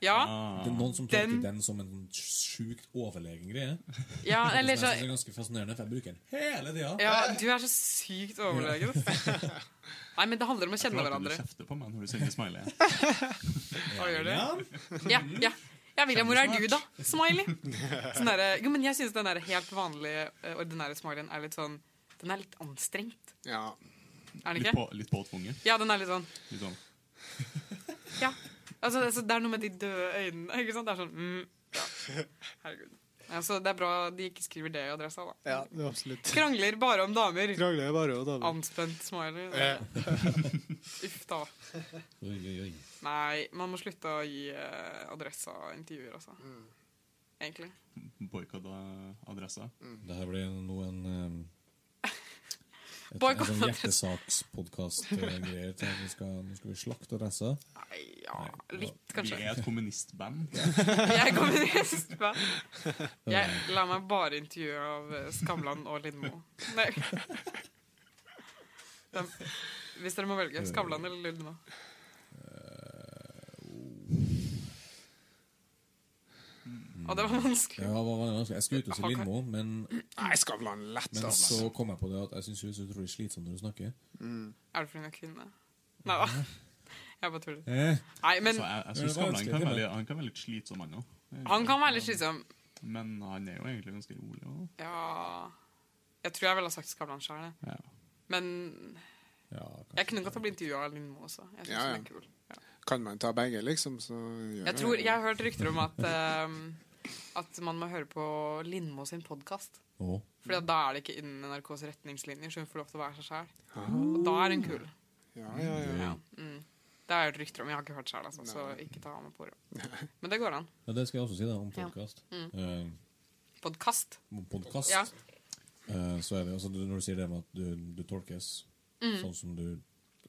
[SPEAKER 4] Ja,
[SPEAKER 5] Det
[SPEAKER 6] Ah,
[SPEAKER 5] er noen som tolker
[SPEAKER 4] Den-
[SPEAKER 5] den, som en sånn sjukt overlegen greie.
[SPEAKER 4] ja
[SPEAKER 5] Eller,
[SPEAKER 4] eller
[SPEAKER 5] så...
[SPEAKER 4] så
[SPEAKER 5] Det er ganske fascinerende, for jeg bruker den hele tida.
[SPEAKER 4] Ja, du er så sykt overlegen. Nei, men det handler om å kjenne
[SPEAKER 6] Klart du
[SPEAKER 4] hverandre.
[SPEAKER 6] kjefter på meg når du sender smiley.
[SPEAKER 4] Hva gjør du? Ja, ja. Ja, William, hvor er du, da? Smiley. Sånn derre- jo, men jeg syns den der helt vanlige, eh, ordinære smileyen er litt sånn Den er litt anstrengt,
[SPEAKER 2] Ja.
[SPEAKER 4] er den
[SPEAKER 6] Litt,
[SPEAKER 4] ikke?
[SPEAKER 6] på, litt påtvunget.
[SPEAKER 4] Ja, den er litt sånn
[SPEAKER 6] Litt sånn.
[SPEAKER 4] Ja. Altså, altså, det er noe med de døde øynene. Ikke sant? Det er sånn mm, ja. Herregud. Ja, så det er bra de ikke skriver det i adressa, da.
[SPEAKER 2] ja det er absolutt.
[SPEAKER 4] Krangler bare om damer.
[SPEAKER 2] Krangler er bare å ta det.
[SPEAKER 4] Anspent smiley.
[SPEAKER 2] Eh,
[SPEAKER 4] Uff da.
[SPEAKER 5] Oi, oi, oi.
[SPEAKER 4] Nei, man må slutte å gi eh, adressa-intervjuer, altså. Egentlig.
[SPEAKER 6] Boikotta adressa.
[SPEAKER 5] Det her blir nå en um, et, En
[SPEAKER 4] Boykott.
[SPEAKER 5] sånn hjertesakspodkast-greier. Nå skal, nå skal vi slakte adressa.
[SPEAKER 4] Nei, ja
[SPEAKER 5] Nei,
[SPEAKER 4] Litt,
[SPEAKER 6] Vi
[SPEAKER 4] kanskje.
[SPEAKER 6] er et kommunistband.
[SPEAKER 4] Jeg kommer nest på Jeg lar meg bare intervjue av eh, Skavlan og Lindmo. Nei. Dem- Hvis dere må velge Skavlan eller Lindmo. Å, det var vanskelig.
[SPEAKER 5] Ja, hva var det vanskelig? Jeg skulle ut og si
[SPEAKER 4] Har-
[SPEAKER 5] Lindmo, men,
[SPEAKER 2] Nei, Skavlan lett, altså?
[SPEAKER 5] men
[SPEAKER 2] ass.
[SPEAKER 5] så kom jeg på det at jeg syns hun er så utrolig slitsom når hun snakker.
[SPEAKER 4] Er det fordi hun er kvinne? Nei da. Jeg bare tuller.
[SPEAKER 5] Eh,
[SPEAKER 4] Nei, men
[SPEAKER 6] Så jeg, jeg
[SPEAKER 5] Men det
[SPEAKER 6] synes
[SPEAKER 5] var
[SPEAKER 6] Skavlan
[SPEAKER 5] vanskelig
[SPEAKER 6] kan,
[SPEAKER 5] til,
[SPEAKER 6] være
[SPEAKER 5] men-
[SPEAKER 6] litt- han kan være litt slitsom, han òg.
[SPEAKER 4] han kan være litt slitsom.
[SPEAKER 6] Men han er jo egentlig ganske rolig òg.
[SPEAKER 4] Ja Jeg tror jeg ville ha sagt Skavlan sjøl. jeg.
[SPEAKER 6] Ja.
[SPEAKER 4] Men
[SPEAKER 5] ja,
[SPEAKER 4] jeg kunne godt ha blitt intervjua av Lindmo også. Jeg synes
[SPEAKER 2] Ja, ja.
[SPEAKER 4] hun er kul. Ja.
[SPEAKER 2] Kan man ta begge, liksom, så gjør
[SPEAKER 4] Jeg, tror, jeg har hørt rykter om at, ehm, at man må høre på Lindmo sin podkast.
[SPEAKER 5] Å,
[SPEAKER 4] For da er det ikke innen NRKs retningslinjer, så hun får lov til å være seg sjæl. Og da er hun kul.
[SPEAKER 2] Ja, ja, ja.
[SPEAKER 5] ja.
[SPEAKER 4] Det har jeg hørt rykter om. Jeg har ikke hørt sjæl, altså, så ikke ta meg på det. Men det går an.
[SPEAKER 5] ja, det skal jeg også si, da, om podkast.
[SPEAKER 4] Podkast.
[SPEAKER 5] Om podkast,
[SPEAKER 4] Mm. Ja.
[SPEAKER 5] eh, så er det altså, du- Når du sier det med at du, du tolkes
[SPEAKER 4] Mm.
[SPEAKER 5] sånn som du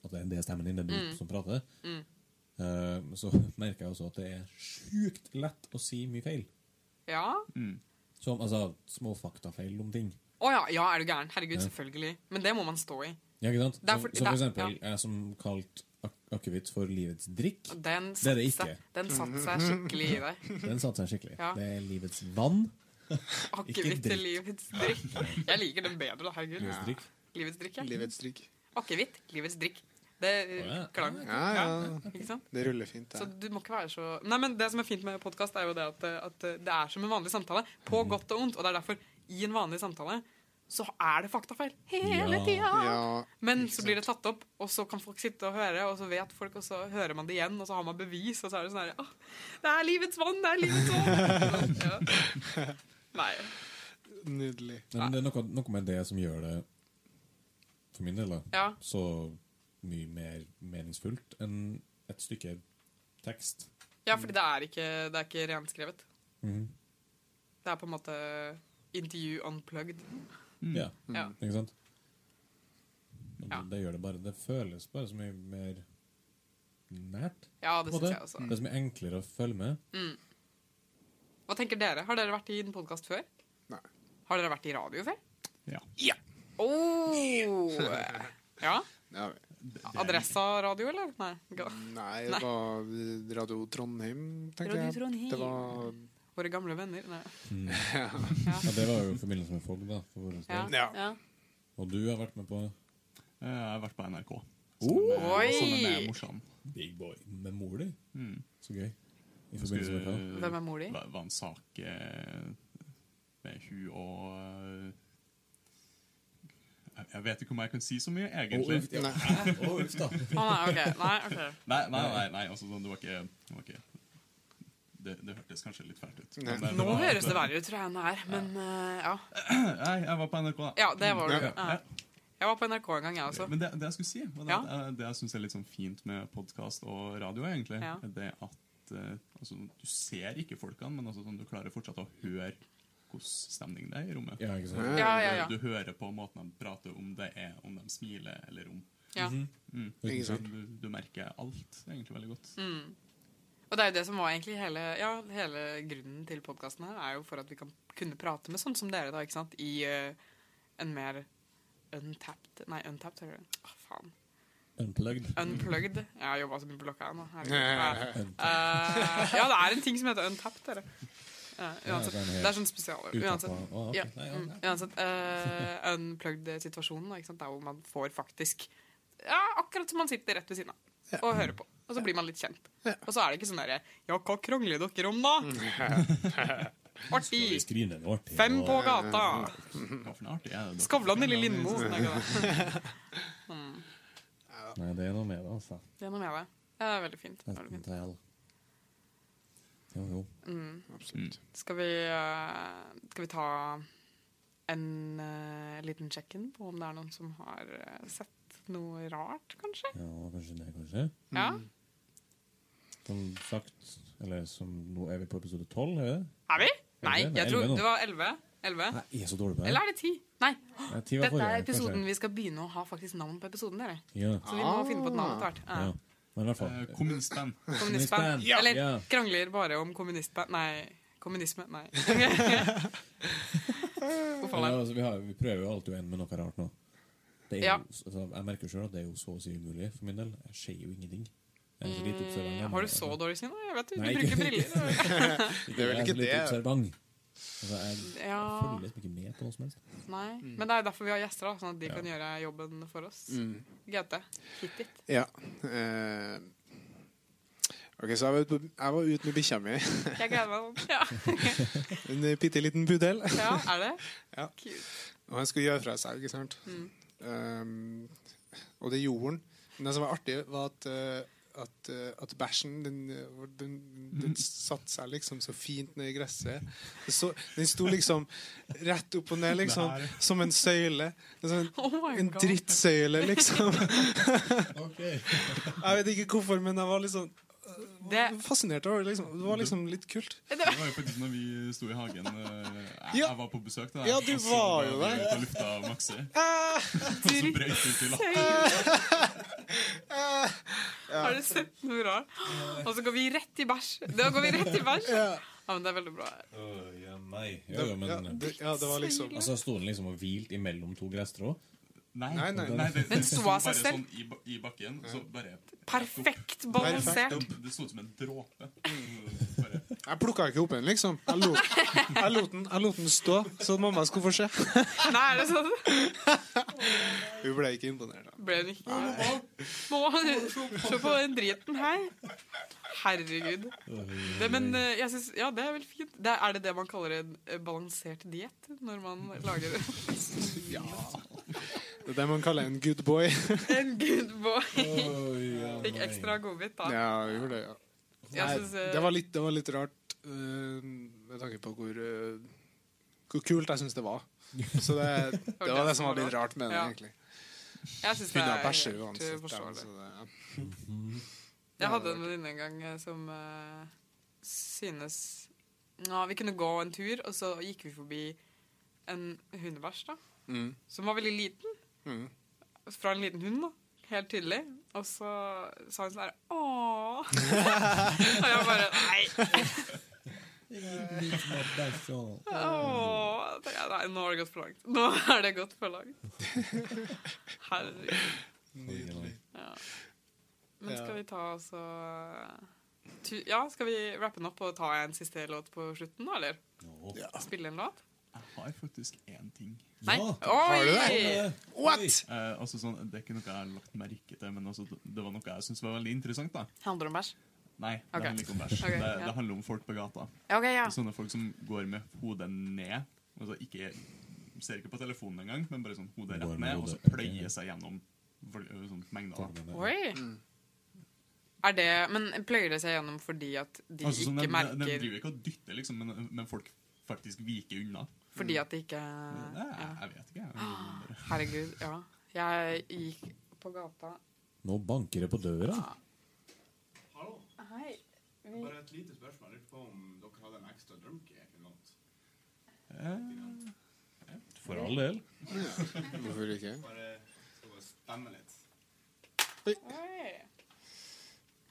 [SPEAKER 5] At det er det er stemmen din, det er du som prater,
[SPEAKER 4] Mm.
[SPEAKER 5] eh, så merker jeg også at det er sjukt lett å si mye feil.
[SPEAKER 4] Ja?
[SPEAKER 5] Som altså, små faktafeil om ting.
[SPEAKER 4] Å ja, ja, er du gæren? Herregud, selvfølgelig. Men det må man stå i.
[SPEAKER 5] Ja, ikke sant?
[SPEAKER 4] Det er for-
[SPEAKER 5] som, som for
[SPEAKER 4] det er-
[SPEAKER 5] eksempel jeg som kalte ak akevitt for livets drikk.
[SPEAKER 4] Den
[SPEAKER 5] Det er det
[SPEAKER 4] satte seg,
[SPEAKER 5] ikke.
[SPEAKER 4] den satt seg skikkelig i deg.
[SPEAKER 5] Den satte seg skikkelig.
[SPEAKER 4] Ja.
[SPEAKER 5] Det er livets vann.
[SPEAKER 4] Akevitt til
[SPEAKER 5] drikk.
[SPEAKER 4] livets drikk. Jeg liker den bedre, da. Herregud.
[SPEAKER 5] Livets drikk.
[SPEAKER 4] Livets drikk, ja.
[SPEAKER 2] Livets drikk.
[SPEAKER 4] Akevitt, livets drikk. Det eh,
[SPEAKER 5] Å, ja.
[SPEAKER 4] klang.
[SPEAKER 2] Ja, ja.
[SPEAKER 4] Ikke sant?
[SPEAKER 2] Det ruller fint,
[SPEAKER 4] Så
[SPEAKER 2] det.
[SPEAKER 4] du må ikke være så Nei, men Det som er fint med podkast, er jo det at, eh, at eh, det er som en vanlig samtale.
[SPEAKER 5] Mm.
[SPEAKER 4] På godt og vondt. Og det er derfor, i en vanlig samtale, så er det faktafeil hele
[SPEAKER 5] Ja.
[SPEAKER 4] tida.
[SPEAKER 2] Ja.
[SPEAKER 4] Men så blir det tatt opp, og så kan folk sitte og høre, og så vet folk, og så hører man det igjen, og så har man bevis, og så er det sånn her «Åh, Det er livets vann! Det er livets vann! ja. Nei.
[SPEAKER 2] Nydelig.
[SPEAKER 5] Nei, men det er noe, noe med det som gjør det, for min del, da,
[SPEAKER 4] Ja.
[SPEAKER 5] så mye mer meningsfullt enn et stykke tekst.
[SPEAKER 4] Ja, fordi det er ikke, det er ikke renskrevet. Det er på en måte intervju unplugged.
[SPEAKER 5] Ja,
[SPEAKER 2] Mm.
[SPEAKER 4] Ja.
[SPEAKER 5] ikke sant? Og
[SPEAKER 4] Mm. Ja.
[SPEAKER 5] det, det gjør det bare Det føles bare så mye mer nært.
[SPEAKER 4] Ja,
[SPEAKER 5] på
[SPEAKER 4] det
[SPEAKER 5] en
[SPEAKER 4] syns
[SPEAKER 5] måte.
[SPEAKER 4] jeg også.
[SPEAKER 2] Mm.
[SPEAKER 5] Det er så mye enklere å følge med.
[SPEAKER 4] Hva tenker dere? Har dere vært i en podkast før?
[SPEAKER 2] Nei.
[SPEAKER 4] Har dere vært i radio før?
[SPEAKER 6] Ja.
[SPEAKER 4] Oh. Ja?
[SPEAKER 2] Ja, vel.
[SPEAKER 4] Adressa-radio, eller? Nei. ga-
[SPEAKER 2] Nei, det var Radio Trondheim, tenkte
[SPEAKER 4] Radio
[SPEAKER 2] jeg.
[SPEAKER 4] Trondheim.
[SPEAKER 2] Det var
[SPEAKER 4] Våre gamle venner. Nei.
[SPEAKER 5] Ja, det var jo i forbindelse med folk, da. For vår del.
[SPEAKER 4] Ja.
[SPEAKER 2] Mm, Ja.
[SPEAKER 4] Ja.
[SPEAKER 5] Og du har vært med på
[SPEAKER 6] Eh, Jeg har vært på NRK. Sammen med,
[SPEAKER 4] Oh, Oi!
[SPEAKER 6] sammen med morsan.
[SPEAKER 5] Big Boy med mor di. Så gøy. I
[SPEAKER 6] Mm. Skulle-
[SPEAKER 5] forbindelse med hva?
[SPEAKER 4] Hvem er mor di?
[SPEAKER 6] Var, var en sak eh, med hun og eh, jeg- Jeg vet ikke om jeg kan si så mye,
[SPEAKER 5] Å,
[SPEAKER 6] egentlig.
[SPEAKER 5] uff, ja. Å, uff da.
[SPEAKER 4] Å nei, ok. Nei, ok.
[SPEAKER 6] Nei, nei, nei, nei altså, sånn, det var ikke, det, var ikke det, det hørtes kanskje litt fælt ut.
[SPEAKER 2] Nei.
[SPEAKER 6] Men det
[SPEAKER 4] Nå
[SPEAKER 6] var-
[SPEAKER 4] høres det verre ut, tror jeg, enn det er. Men eh, ja.
[SPEAKER 6] Nei, jeg var på NRK, da.
[SPEAKER 4] Ja, det var det.
[SPEAKER 2] Ja,
[SPEAKER 4] Ja. Jeg var på NRK en gang, jeg også.
[SPEAKER 6] Men det, det jeg skulle si, var det,
[SPEAKER 4] Ja.
[SPEAKER 6] at jeg- det jeg syns er litt sånn fint med podkast og radio, egentlig,
[SPEAKER 4] Ja.
[SPEAKER 6] er det at eh, altså, du ser ikke folkene, men altså, sånn, du klarer fortsatt å høre hvordan stemning det er i rommet.
[SPEAKER 5] Ja, ikke sant?
[SPEAKER 4] Ja, ja, ja.
[SPEAKER 6] Du hører på måten de prater om det er, om de smiler, eller om mm.
[SPEAKER 4] ja.
[SPEAKER 6] Mhm.
[SPEAKER 2] Ikke sant?
[SPEAKER 6] du, du merker alt egentlig veldig godt.
[SPEAKER 4] Og det er jo det som var egentlig hele, ja, hele grunnen til podkasten her, er jo for at vi kan kunne prate med sånn som dere, da, ikke sant, i eh, en mer untapped Nei, untapped, hører du. Åh, faen.
[SPEAKER 5] Unplugged.
[SPEAKER 4] Unplugged. Jeg har jobba så mye på blokka her nå. herregud.
[SPEAKER 2] Ja.
[SPEAKER 4] Eh, ja, det er en ting som heter untapped, dere. Eh,
[SPEAKER 5] Ja,
[SPEAKER 4] uansett.
[SPEAKER 5] det er en helt
[SPEAKER 4] Det er sånn spesial... Uansett.
[SPEAKER 5] Utappa. Å, ok.
[SPEAKER 4] Ja,
[SPEAKER 5] Nei, ja,
[SPEAKER 4] mm,
[SPEAKER 5] nei.
[SPEAKER 4] uansett eh, Unplugged-situasjonen, da, ikke sant, der hvor man får faktisk Ja, akkurat som man sitter rett ved siden av og hører på. Og så blir man litt kjent. Og så er det ikke sånn derre Ja, hva krangler dere om, da?
[SPEAKER 5] Vi
[SPEAKER 4] Artig!
[SPEAKER 5] skriver ned en artig
[SPEAKER 4] Fem
[SPEAKER 5] og-
[SPEAKER 4] på gata!
[SPEAKER 6] Hva for noe artig er det? dere?
[SPEAKER 4] Mm. Skavlan i Lille Lindmo. sånn er ikke det.
[SPEAKER 5] Nei, det er noe med det, altså.
[SPEAKER 4] Det er noe med det. Det er veldig fint. Det er veldig
[SPEAKER 5] Enten
[SPEAKER 4] fint.
[SPEAKER 5] til Jo, jo.
[SPEAKER 6] Mm.
[SPEAKER 2] Absolutt.
[SPEAKER 4] Skal vi, eh, skal vi ta en eh, liten check-in på om det er noen som har eh, sett noe rart, kanskje?
[SPEAKER 5] Ja, kanskje det, kanskje.
[SPEAKER 4] Ja?
[SPEAKER 5] Som sagt, eller som Nå er vi på episode 12, er det?
[SPEAKER 4] Er vi? Nei,
[SPEAKER 5] Elleve? Nei,
[SPEAKER 4] jeg tror
[SPEAKER 5] elleve nå.
[SPEAKER 4] det var elleve. Elleve?
[SPEAKER 5] Nei, jeg er så dårlig på det.
[SPEAKER 4] Eller er det ti? Nei.
[SPEAKER 5] Nei, ti var
[SPEAKER 4] Dette
[SPEAKER 5] forrige
[SPEAKER 4] er
[SPEAKER 5] gang,
[SPEAKER 4] episoden
[SPEAKER 5] kanskje.
[SPEAKER 4] vi skal begynne å ha faktisk navn på episoden, dere.
[SPEAKER 5] Ja.
[SPEAKER 4] Så vi må finne på et navn etter hvert.
[SPEAKER 5] ja.
[SPEAKER 4] Ja.
[SPEAKER 5] Men i hvert fall.
[SPEAKER 6] Eh, Kommunistband.
[SPEAKER 4] Kommunistband.
[SPEAKER 5] kommunistband. Ja.
[SPEAKER 4] Eller
[SPEAKER 5] Ja.
[SPEAKER 4] krangler bare om kommunistband Nei, kommunisme. Nei. Hvorfor
[SPEAKER 5] Ja,
[SPEAKER 4] det?
[SPEAKER 5] altså, vi, har, vi prøver jo alltid å ende med noe rart nå. Det er
[SPEAKER 4] Ja.
[SPEAKER 5] jo, altså, jeg merker jo sjøl at det er jo så å si umulig for min del. Jeg ser jo ingenting. Jeg er så lite observant.
[SPEAKER 4] Mm, Har du så dårlig syn? Jeg vet du, du
[SPEAKER 5] Nei, ikke-
[SPEAKER 4] bruker briller.
[SPEAKER 2] Det er vel ikke
[SPEAKER 5] Jeg er så lite
[SPEAKER 2] det.
[SPEAKER 5] observant. Altså, jeg
[SPEAKER 4] Ja.
[SPEAKER 5] følger liksom ikke med på noe som helst.
[SPEAKER 4] Nei, men det er jo derfor vi har gjester, da, sånn at de kan gjøre jobben for oss.
[SPEAKER 5] Mm.
[SPEAKER 4] GT, hit dit.
[SPEAKER 2] Ja. Eh, OK, så jeg var ute på- jeg var ute med bikkja mi.
[SPEAKER 4] Jeg gleder meg sånn. Ja.
[SPEAKER 2] En bitte liten pudel.
[SPEAKER 4] ja, er det?
[SPEAKER 2] Ja.
[SPEAKER 4] Cute.
[SPEAKER 2] Og han skulle gjøre fra seg, ikke sant? Um, og det gjorde han. Men det som var artig, var at, eh, at, eh, at bæsjen den, eh, den, den satte seg liksom så fint ned i gresset. Det Så, den sto liksom rett opp og ned, liksom.
[SPEAKER 6] Nei.
[SPEAKER 2] Som en søyle. Det er sånn-
[SPEAKER 4] Oh my
[SPEAKER 2] en
[SPEAKER 4] God.
[SPEAKER 2] drittsøyle, liksom.
[SPEAKER 5] Okay.
[SPEAKER 2] Jeg vet ikke hvorfor, men jeg var litt sånn
[SPEAKER 4] Det,
[SPEAKER 2] fascinert over det. Liksom. Det var liksom litt kult.
[SPEAKER 6] Det var jo faktisk når vi sto i hagen eh, Jeg,
[SPEAKER 2] Ja.
[SPEAKER 6] jeg var på besøk til deg.
[SPEAKER 2] Ja, du
[SPEAKER 6] og så
[SPEAKER 2] var jo
[SPEAKER 6] vi
[SPEAKER 2] der.
[SPEAKER 6] ute og lufta Maxi. Så
[SPEAKER 4] dritt.
[SPEAKER 6] brøyt ut i latter.
[SPEAKER 4] Har du sett noe rart? Og så går vi rett i bæsj. Da går vi rett i bæsj. Ja, men det er veldig bra.
[SPEAKER 5] ja, nei. Jo, jo,
[SPEAKER 2] ja,
[SPEAKER 5] men
[SPEAKER 2] det, ja, det var liksom
[SPEAKER 5] Altså, sto den liksom og hvilte imellom to gresstrå?
[SPEAKER 6] Nei,
[SPEAKER 2] Nei, nei, nei.
[SPEAKER 6] det,
[SPEAKER 4] Den
[SPEAKER 6] det
[SPEAKER 4] sto
[SPEAKER 6] sto
[SPEAKER 4] av
[SPEAKER 6] bare
[SPEAKER 4] seg selv.
[SPEAKER 6] sånn i, ba- i bakken. Så bare
[SPEAKER 4] Perfekt balansert.
[SPEAKER 6] Det, det så ut som en dråpe. Bare,
[SPEAKER 2] Jeg plukka ikke opp den, liksom. Jeg lot, jeg lot, den, jeg lot den stå, så mamma skulle få se.
[SPEAKER 4] Nei, er det sånn?
[SPEAKER 2] Hun ble ikke imponert. da.
[SPEAKER 4] Ble hun ikke Må se på den driten her. Herregud. Det, men eh, jeg synes, ja, det er vel fint. Det, er det det man kaller en eh, balansert diett? Når man lager
[SPEAKER 2] Det er det man kaller en good boy.
[SPEAKER 4] en good boy? Fikk ekstra godbit, da.
[SPEAKER 2] Ja, hun gjorde det, ja.
[SPEAKER 4] Jeg synes, eh,
[SPEAKER 2] Det var litt, det var litt rart eh, med tanke på hvor, eh, hvor kult jeg syns det var. Så det, det var det som var litt rart med det,
[SPEAKER 4] Ja.
[SPEAKER 2] egentlig.
[SPEAKER 4] jeg synes det
[SPEAKER 2] Kunne ha
[SPEAKER 4] er
[SPEAKER 2] bæsja
[SPEAKER 4] helt
[SPEAKER 2] uansett. altså. ja,
[SPEAKER 4] uforståelig.
[SPEAKER 2] så det- ja.
[SPEAKER 4] Jeg hadde en venninne en gang eh, som eh, synes ja, Vi kunne gå en tur, og så gikk vi forbi en hundebæsj da,
[SPEAKER 2] Mm.
[SPEAKER 4] som var veldig liten.
[SPEAKER 2] Mhm.
[SPEAKER 4] Fra en liten hund, da. Helt tydelig. Og så sa hun sånn her Åh. og jeg bare Nei. Åh. Tenkte jeg, Nei, nå har det gått for langt. Nå har det gått for langt. Herregud. Ja. Men skal vi ta altså tu- Ja, skal vi rappe den opp og ta en siste låt på slutten, da, eller? Spille en låt?
[SPEAKER 6] jeg har faktisk én ting.
[SPEAKER 4] Nei?
[SPEAKER 5] Ja.
[SPEAKER 4] Oi!
[SPEAKER 2] du
[SPEAKER 5] What?!
[SPEAKER 6] Eh, altså sånn, Det er ikke noe jeg har lagt merke til, men altså, det var noe jeg syntes var veldig interessant. da
[SPEAKER 4] Handler om bæsj?
[SPEAKER 6] Nei, det
[SPEAKER 4] Ok.
[SPEAKER 6] handler ikke om bæsj.
[SPEAKER 4] Ok,
[SPEAKER 6] det,
[SPEAKER 4] ja.
[SPEAKER 6] det handler om folk på gata.
[SPEAKER 4] Ja, ok, ja.
[SPEAKER 6] Det er Sånne folk som går med hodet ned. Altså ikke Ser ikke på telefonen engang, men bare sånn hodet
[SPEAKER 5] Går
[SPEAKER 6] rett
[SPEAKER 5] med
[SPEAKER 6] ned, og så
[SPEAKER 5] hodet-
[SPEAKER 6] pløyer seg gjennom vol- øh, sånn mengder. da.
[SPEAKER 4] Oi! Er det, men pløyer det seg gjennom fordi at de
[SPEAKER 6] Altså, sånn,
[SPEAKER 4] ikke
[SPEAKER 6] de, de, de
[SPEAKER 4] merker
[SPEAKER 6] driver ikke og dytter, liksom, men, men folk faktisk viker unna.
[SPEAKER 4] Fordi at de ikke
[SPEAKER 6] Nei, jeg vet ikke. jeg.
[SPEAKER 4] Herregud, ja. Jeg gikk på gata
[SPEAKER 5] Nå banker det på døra.
[SPEAKER 7] Hallo,
[SPEAKER 4] Hei. Vi,
[SPEAKER 7] bare et lite spørsmål. Lurte på om dere hadde en ekstra drunk eller noe.
[SPEAKER 5] For all del.
[SPEAKER 2] Hvorfor ikke?
[SPEAKER 7] Bare skal bare stemme litt.
[SPEAKER 4] oi.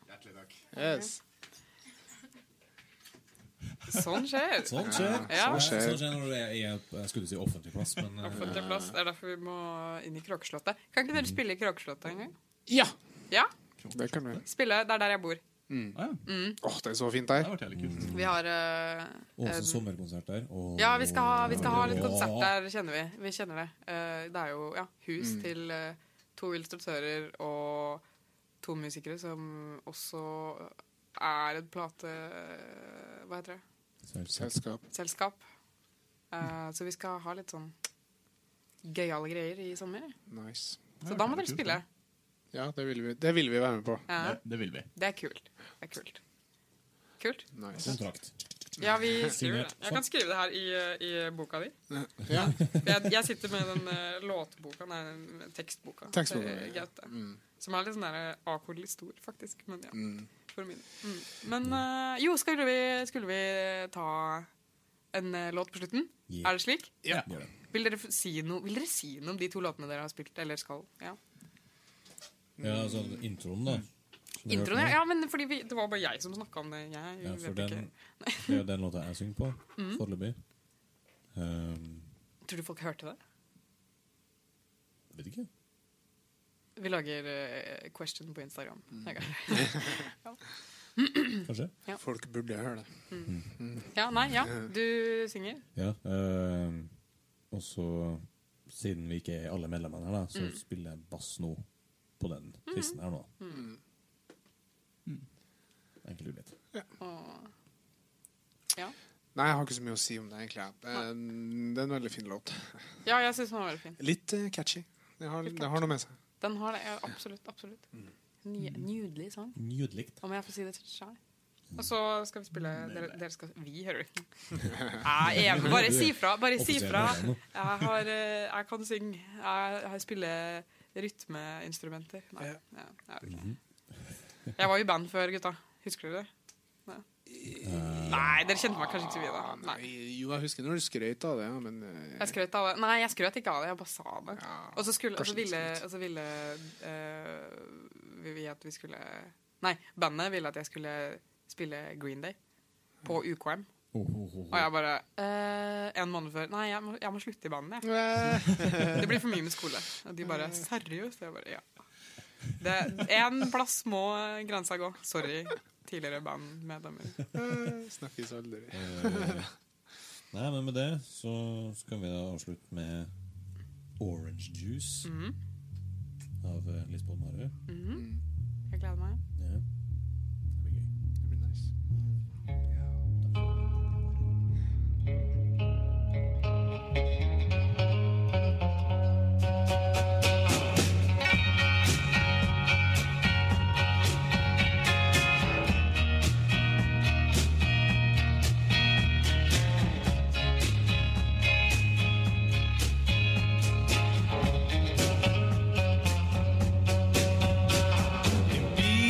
[SPEAKER 7] Hjertelig takk.
[SPEAKER 2] Yes.
[SPEAKER 4] Sånn skjer.
[SPEAKER 5] Sånn skjer.
[SPEAKER 4] Ja.
[SPEAKER 5] Sånn skjer. Sånn skjer når du er i jeg skulle si offentlig plass, men eh,
[SPEAKER 4] Offentlig plass. Det er derfor vi må inn i Kråkeslottet. Kan ikke dere spille i Kråkeslottet en gang?
[SPEAKER 2] Ja!
[SPEAKER 4] Ja,
[SPEAKER 2] Det kan vi.
[SPEAKER 4] spille. Det er der jeg bor.
[SPEAKER 6] Ah, ja. Det
[SPEAKER 2] Åh, det er så fint der.
[SPEAKER 6] har vært jævlig kult.
[SPEAKER 4] Vi har eh,
[SPEAKER 5] Åsen
[SPEAKER 4] eh,
[SPEAKER 5] sommerkonsert der. og-
[SPEAKER 4] Ja, vi skal ha, vi skal ha litt
[SPEAKER 5] Ja.
[SPEAKER 4] konsert der, kjenner vi. Vi kjenner det. Eh, det er jo ja, hus til eh, to illustratører og to musikere som også er et plate... eh, Hva heter det?
[SPEAKER 5] Selvsagt.
[SPEAKER 2] Selskap.
[SPEAKER 4] Selskap. Eh, så vi skal ha litt sånn gøyale greier i sommer.
[SPEAKER 2] Nice.
[SPEAKER 4] Så da må dere spille.
[SPEAKER 2] Ja, det vil vi, det vil vi være med på.
[SPEAKER 4] Ja,
[SPEAKER 6] Det, det vil vi.
[SPEAKER 4] det er kult. Det er kult. Kult?
[SPEAKER 2] Nice.
[SPEAKER 5] Kontrakt.
[SPEAKER 4] Ja, vi skriver det.
[SPEAKER 5] Signert.
[SPEAKER 4] Jeg kan skrive det her i, eh, i boka di.
[SPEAKER 2] Ja.
[SPEAKER 4] Jeg, jeg sitter med den eh, låtboka, nei, den tekstboka
[SPEAKER 2] Tekstboka,
[SPEAKER 4] til
[SPEAKER 2] ja.
[SPEAKER 4] Gaute.
[SPEAKER 5] Mm.
[SPEAKER 4] Som er litt sånn der, eh, akkordelig stor, faktisk. Men ja, for min. Mm. Men eh, jo, skulle vi, skulle vi ta en eh, låt på slutten?
[SPEAKER 5] Yeah.
[SPEAKER 4] Er det slik?
[SPEAKER 2] Ja.
[SPEAKER 5] Gjør det.
[SPEAKER 4] Vil dere, f- si noe- vil dere si noe om de to låtene dere har spilt, eller skal? Ja.
[SPEAKER 5] Ja, altså introen, da. som du
[SPEAKER 4] Introen,
[SPEAKER 5] hørte
[SPEAKER 4] ja.
[SPEAKER 5] nå.
[SPEAKER 4] ja men fordi vi, det var bare jeg som snakka om det. Jeg
[SPEAKER 5] Ja, for
[SPEAKER 4] vet
[SPEAKER 5] den,
[SPEAKER 4] ikke. Mm.
[SPEAKER 5] det er jo den låta jeg synger på foreløpig. Um,
[SPEAKER 4] Tror du folk hørte det?
[SPEAKER 5] jeg vet ikke.
[SPEAKER 4] Vi lager eh, question på Instagram.
[SPEAKER 5] Mm.
[SPEAKER 4] Ok. Mm.
[SPEAKER 5] Kanskje.
[SPEAKER 2] Folk burde høre det.
[SPEAKER 4] Ja, nei, ja. Du synger.
[SPEAKER 5] Ja. ehm, og så, siden vi ikke er alle medlemmene her, da, så
[SPEAKER 4] Mm.
[SPEAKER 5] spiller jeg bass nå på den sisten her nå.
[SPEAKER 4] Mm.
[SPEAKER 5] Mm. Enkel mulighet.
[SPEAKER 4] Ja,
[SPEAKER 2] Nei, jeg har ikke så mye å si om det, egentlig. Det er en, det er en veldig fin låt.
[SPEAKER 4] ja jeg syns den var veldig fin.
[SPEAKER 2] Litt eh, catchy. Det har,
[SPEAKER 4] Litt
[SPEAKER 2] det har noe med seg.
[SPEAKER 4] Den har det. Ja, absolutt. absolutt. Ny- Nydelig sang.
[SPEAKER 5] Nydelig.
[SPEAKER 4] Om jeg får si det til sjøl. Og så skal vi spille Dere, dere skal Vi hører ikke. Jeg er enig. Bare si fra. Bare si
[SPEAKER 5] Offisiell
[SPEAKER 4] fra.
[SPEAKER 5] radio nå.
[SPEAKER 4] Jeg, har, eh, jeg kan synge. Jeg, jeg spiller rytmeinstrumenter. Nei, ja, jeg vet ikke. Jeg var i band før, gutta. Husker dere det? Nei, Nei, dere kjente meg kanskje ikke så vidt da. Nei.
[SPEAKER 2] Ah, Jo, jeg husker når du skrøt av det, ja, men eh,
[SPEAKER 4] Jeg skrøt av det. Nei, jeg skrøt ikke av det. Jeg bare sa det.
[SPEAKER 2] Ja,
[SPEAKER 4] og så skulle, og så
[SPEAKER 2] kanskje
[SPEAKER 4] ville,
[SPEAKER 2] litt skrøt.
[SPEAKER 4] og så ville eh, vi- vi at vi skulle Nei, bandet ville at jeg skulle spille Green Day på UKM.
[SPEAKER 5] Oh, oh, oh,
[SPEAKER 4] Og jeg bare eh, En måned før Nei, jeg må, jeg må slutte i bandet. jeg. Det blir for mye med skole. Og de bare Seriøst? Jeg bare Ja. Det, en plass må grensa gå. Sorry, tidligere bandmedlemmer.
[SPEAKER 2] eh, snakkes aldri.
[SPEAKER 5] Eh, Nei, men med det så skal vi da avslutte med Orange Juice
[SPEAKER 4] Mm.
[SPEAKER 5] av eh, Lisbeth Marø.
[SPEAKER 4] Jeg gleder meg.
[SPEAKER 5] Ja. Det blir gøy.
[SPEAKER 2] Det blir nice.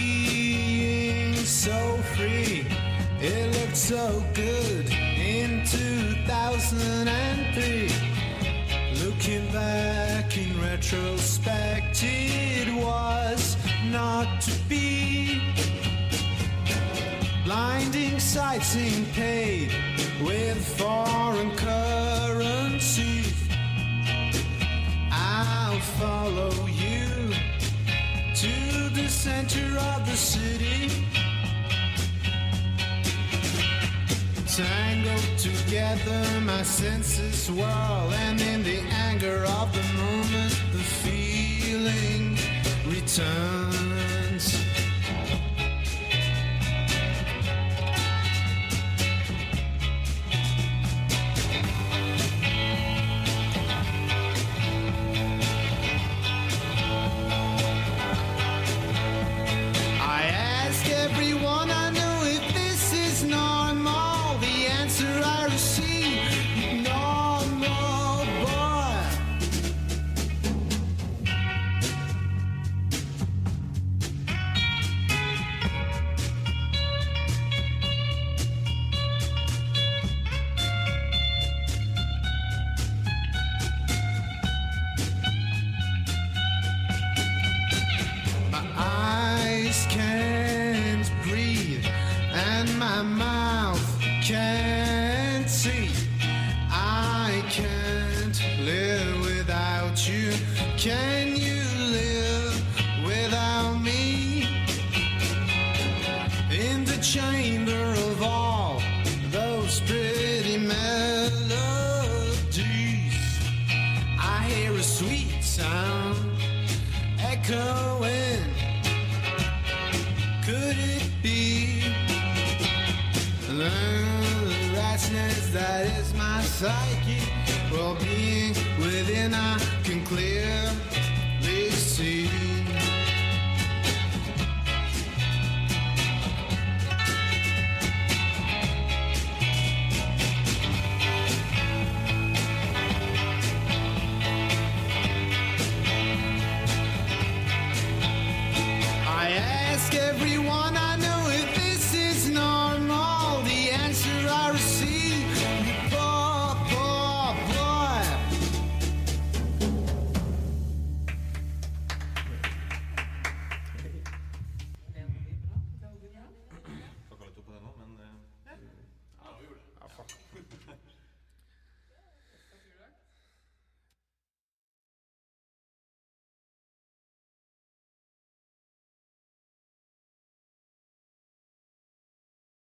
[SPEAKER 3] being so free. It looked so good in 2003. Looking back in retrospect, it was not to be. Blinding sighting paid with foreign currency. I'll follow you to the center of the city. Tangled together, my senses swirl, and in the anger of the moment, the feeling returns. I ask everyone I know if this is normal. The answer I receive, normal boy. my mouth can't see. I can't live without you. Can you live without me? In the chamber of all those pretty melodies, I hear a sweet sound echoing. Could it be the rashness that is my psyche? Well, being within, I can clearly see. I ask everyone I know if this is normal. The answer I receive, you poor, poor boy.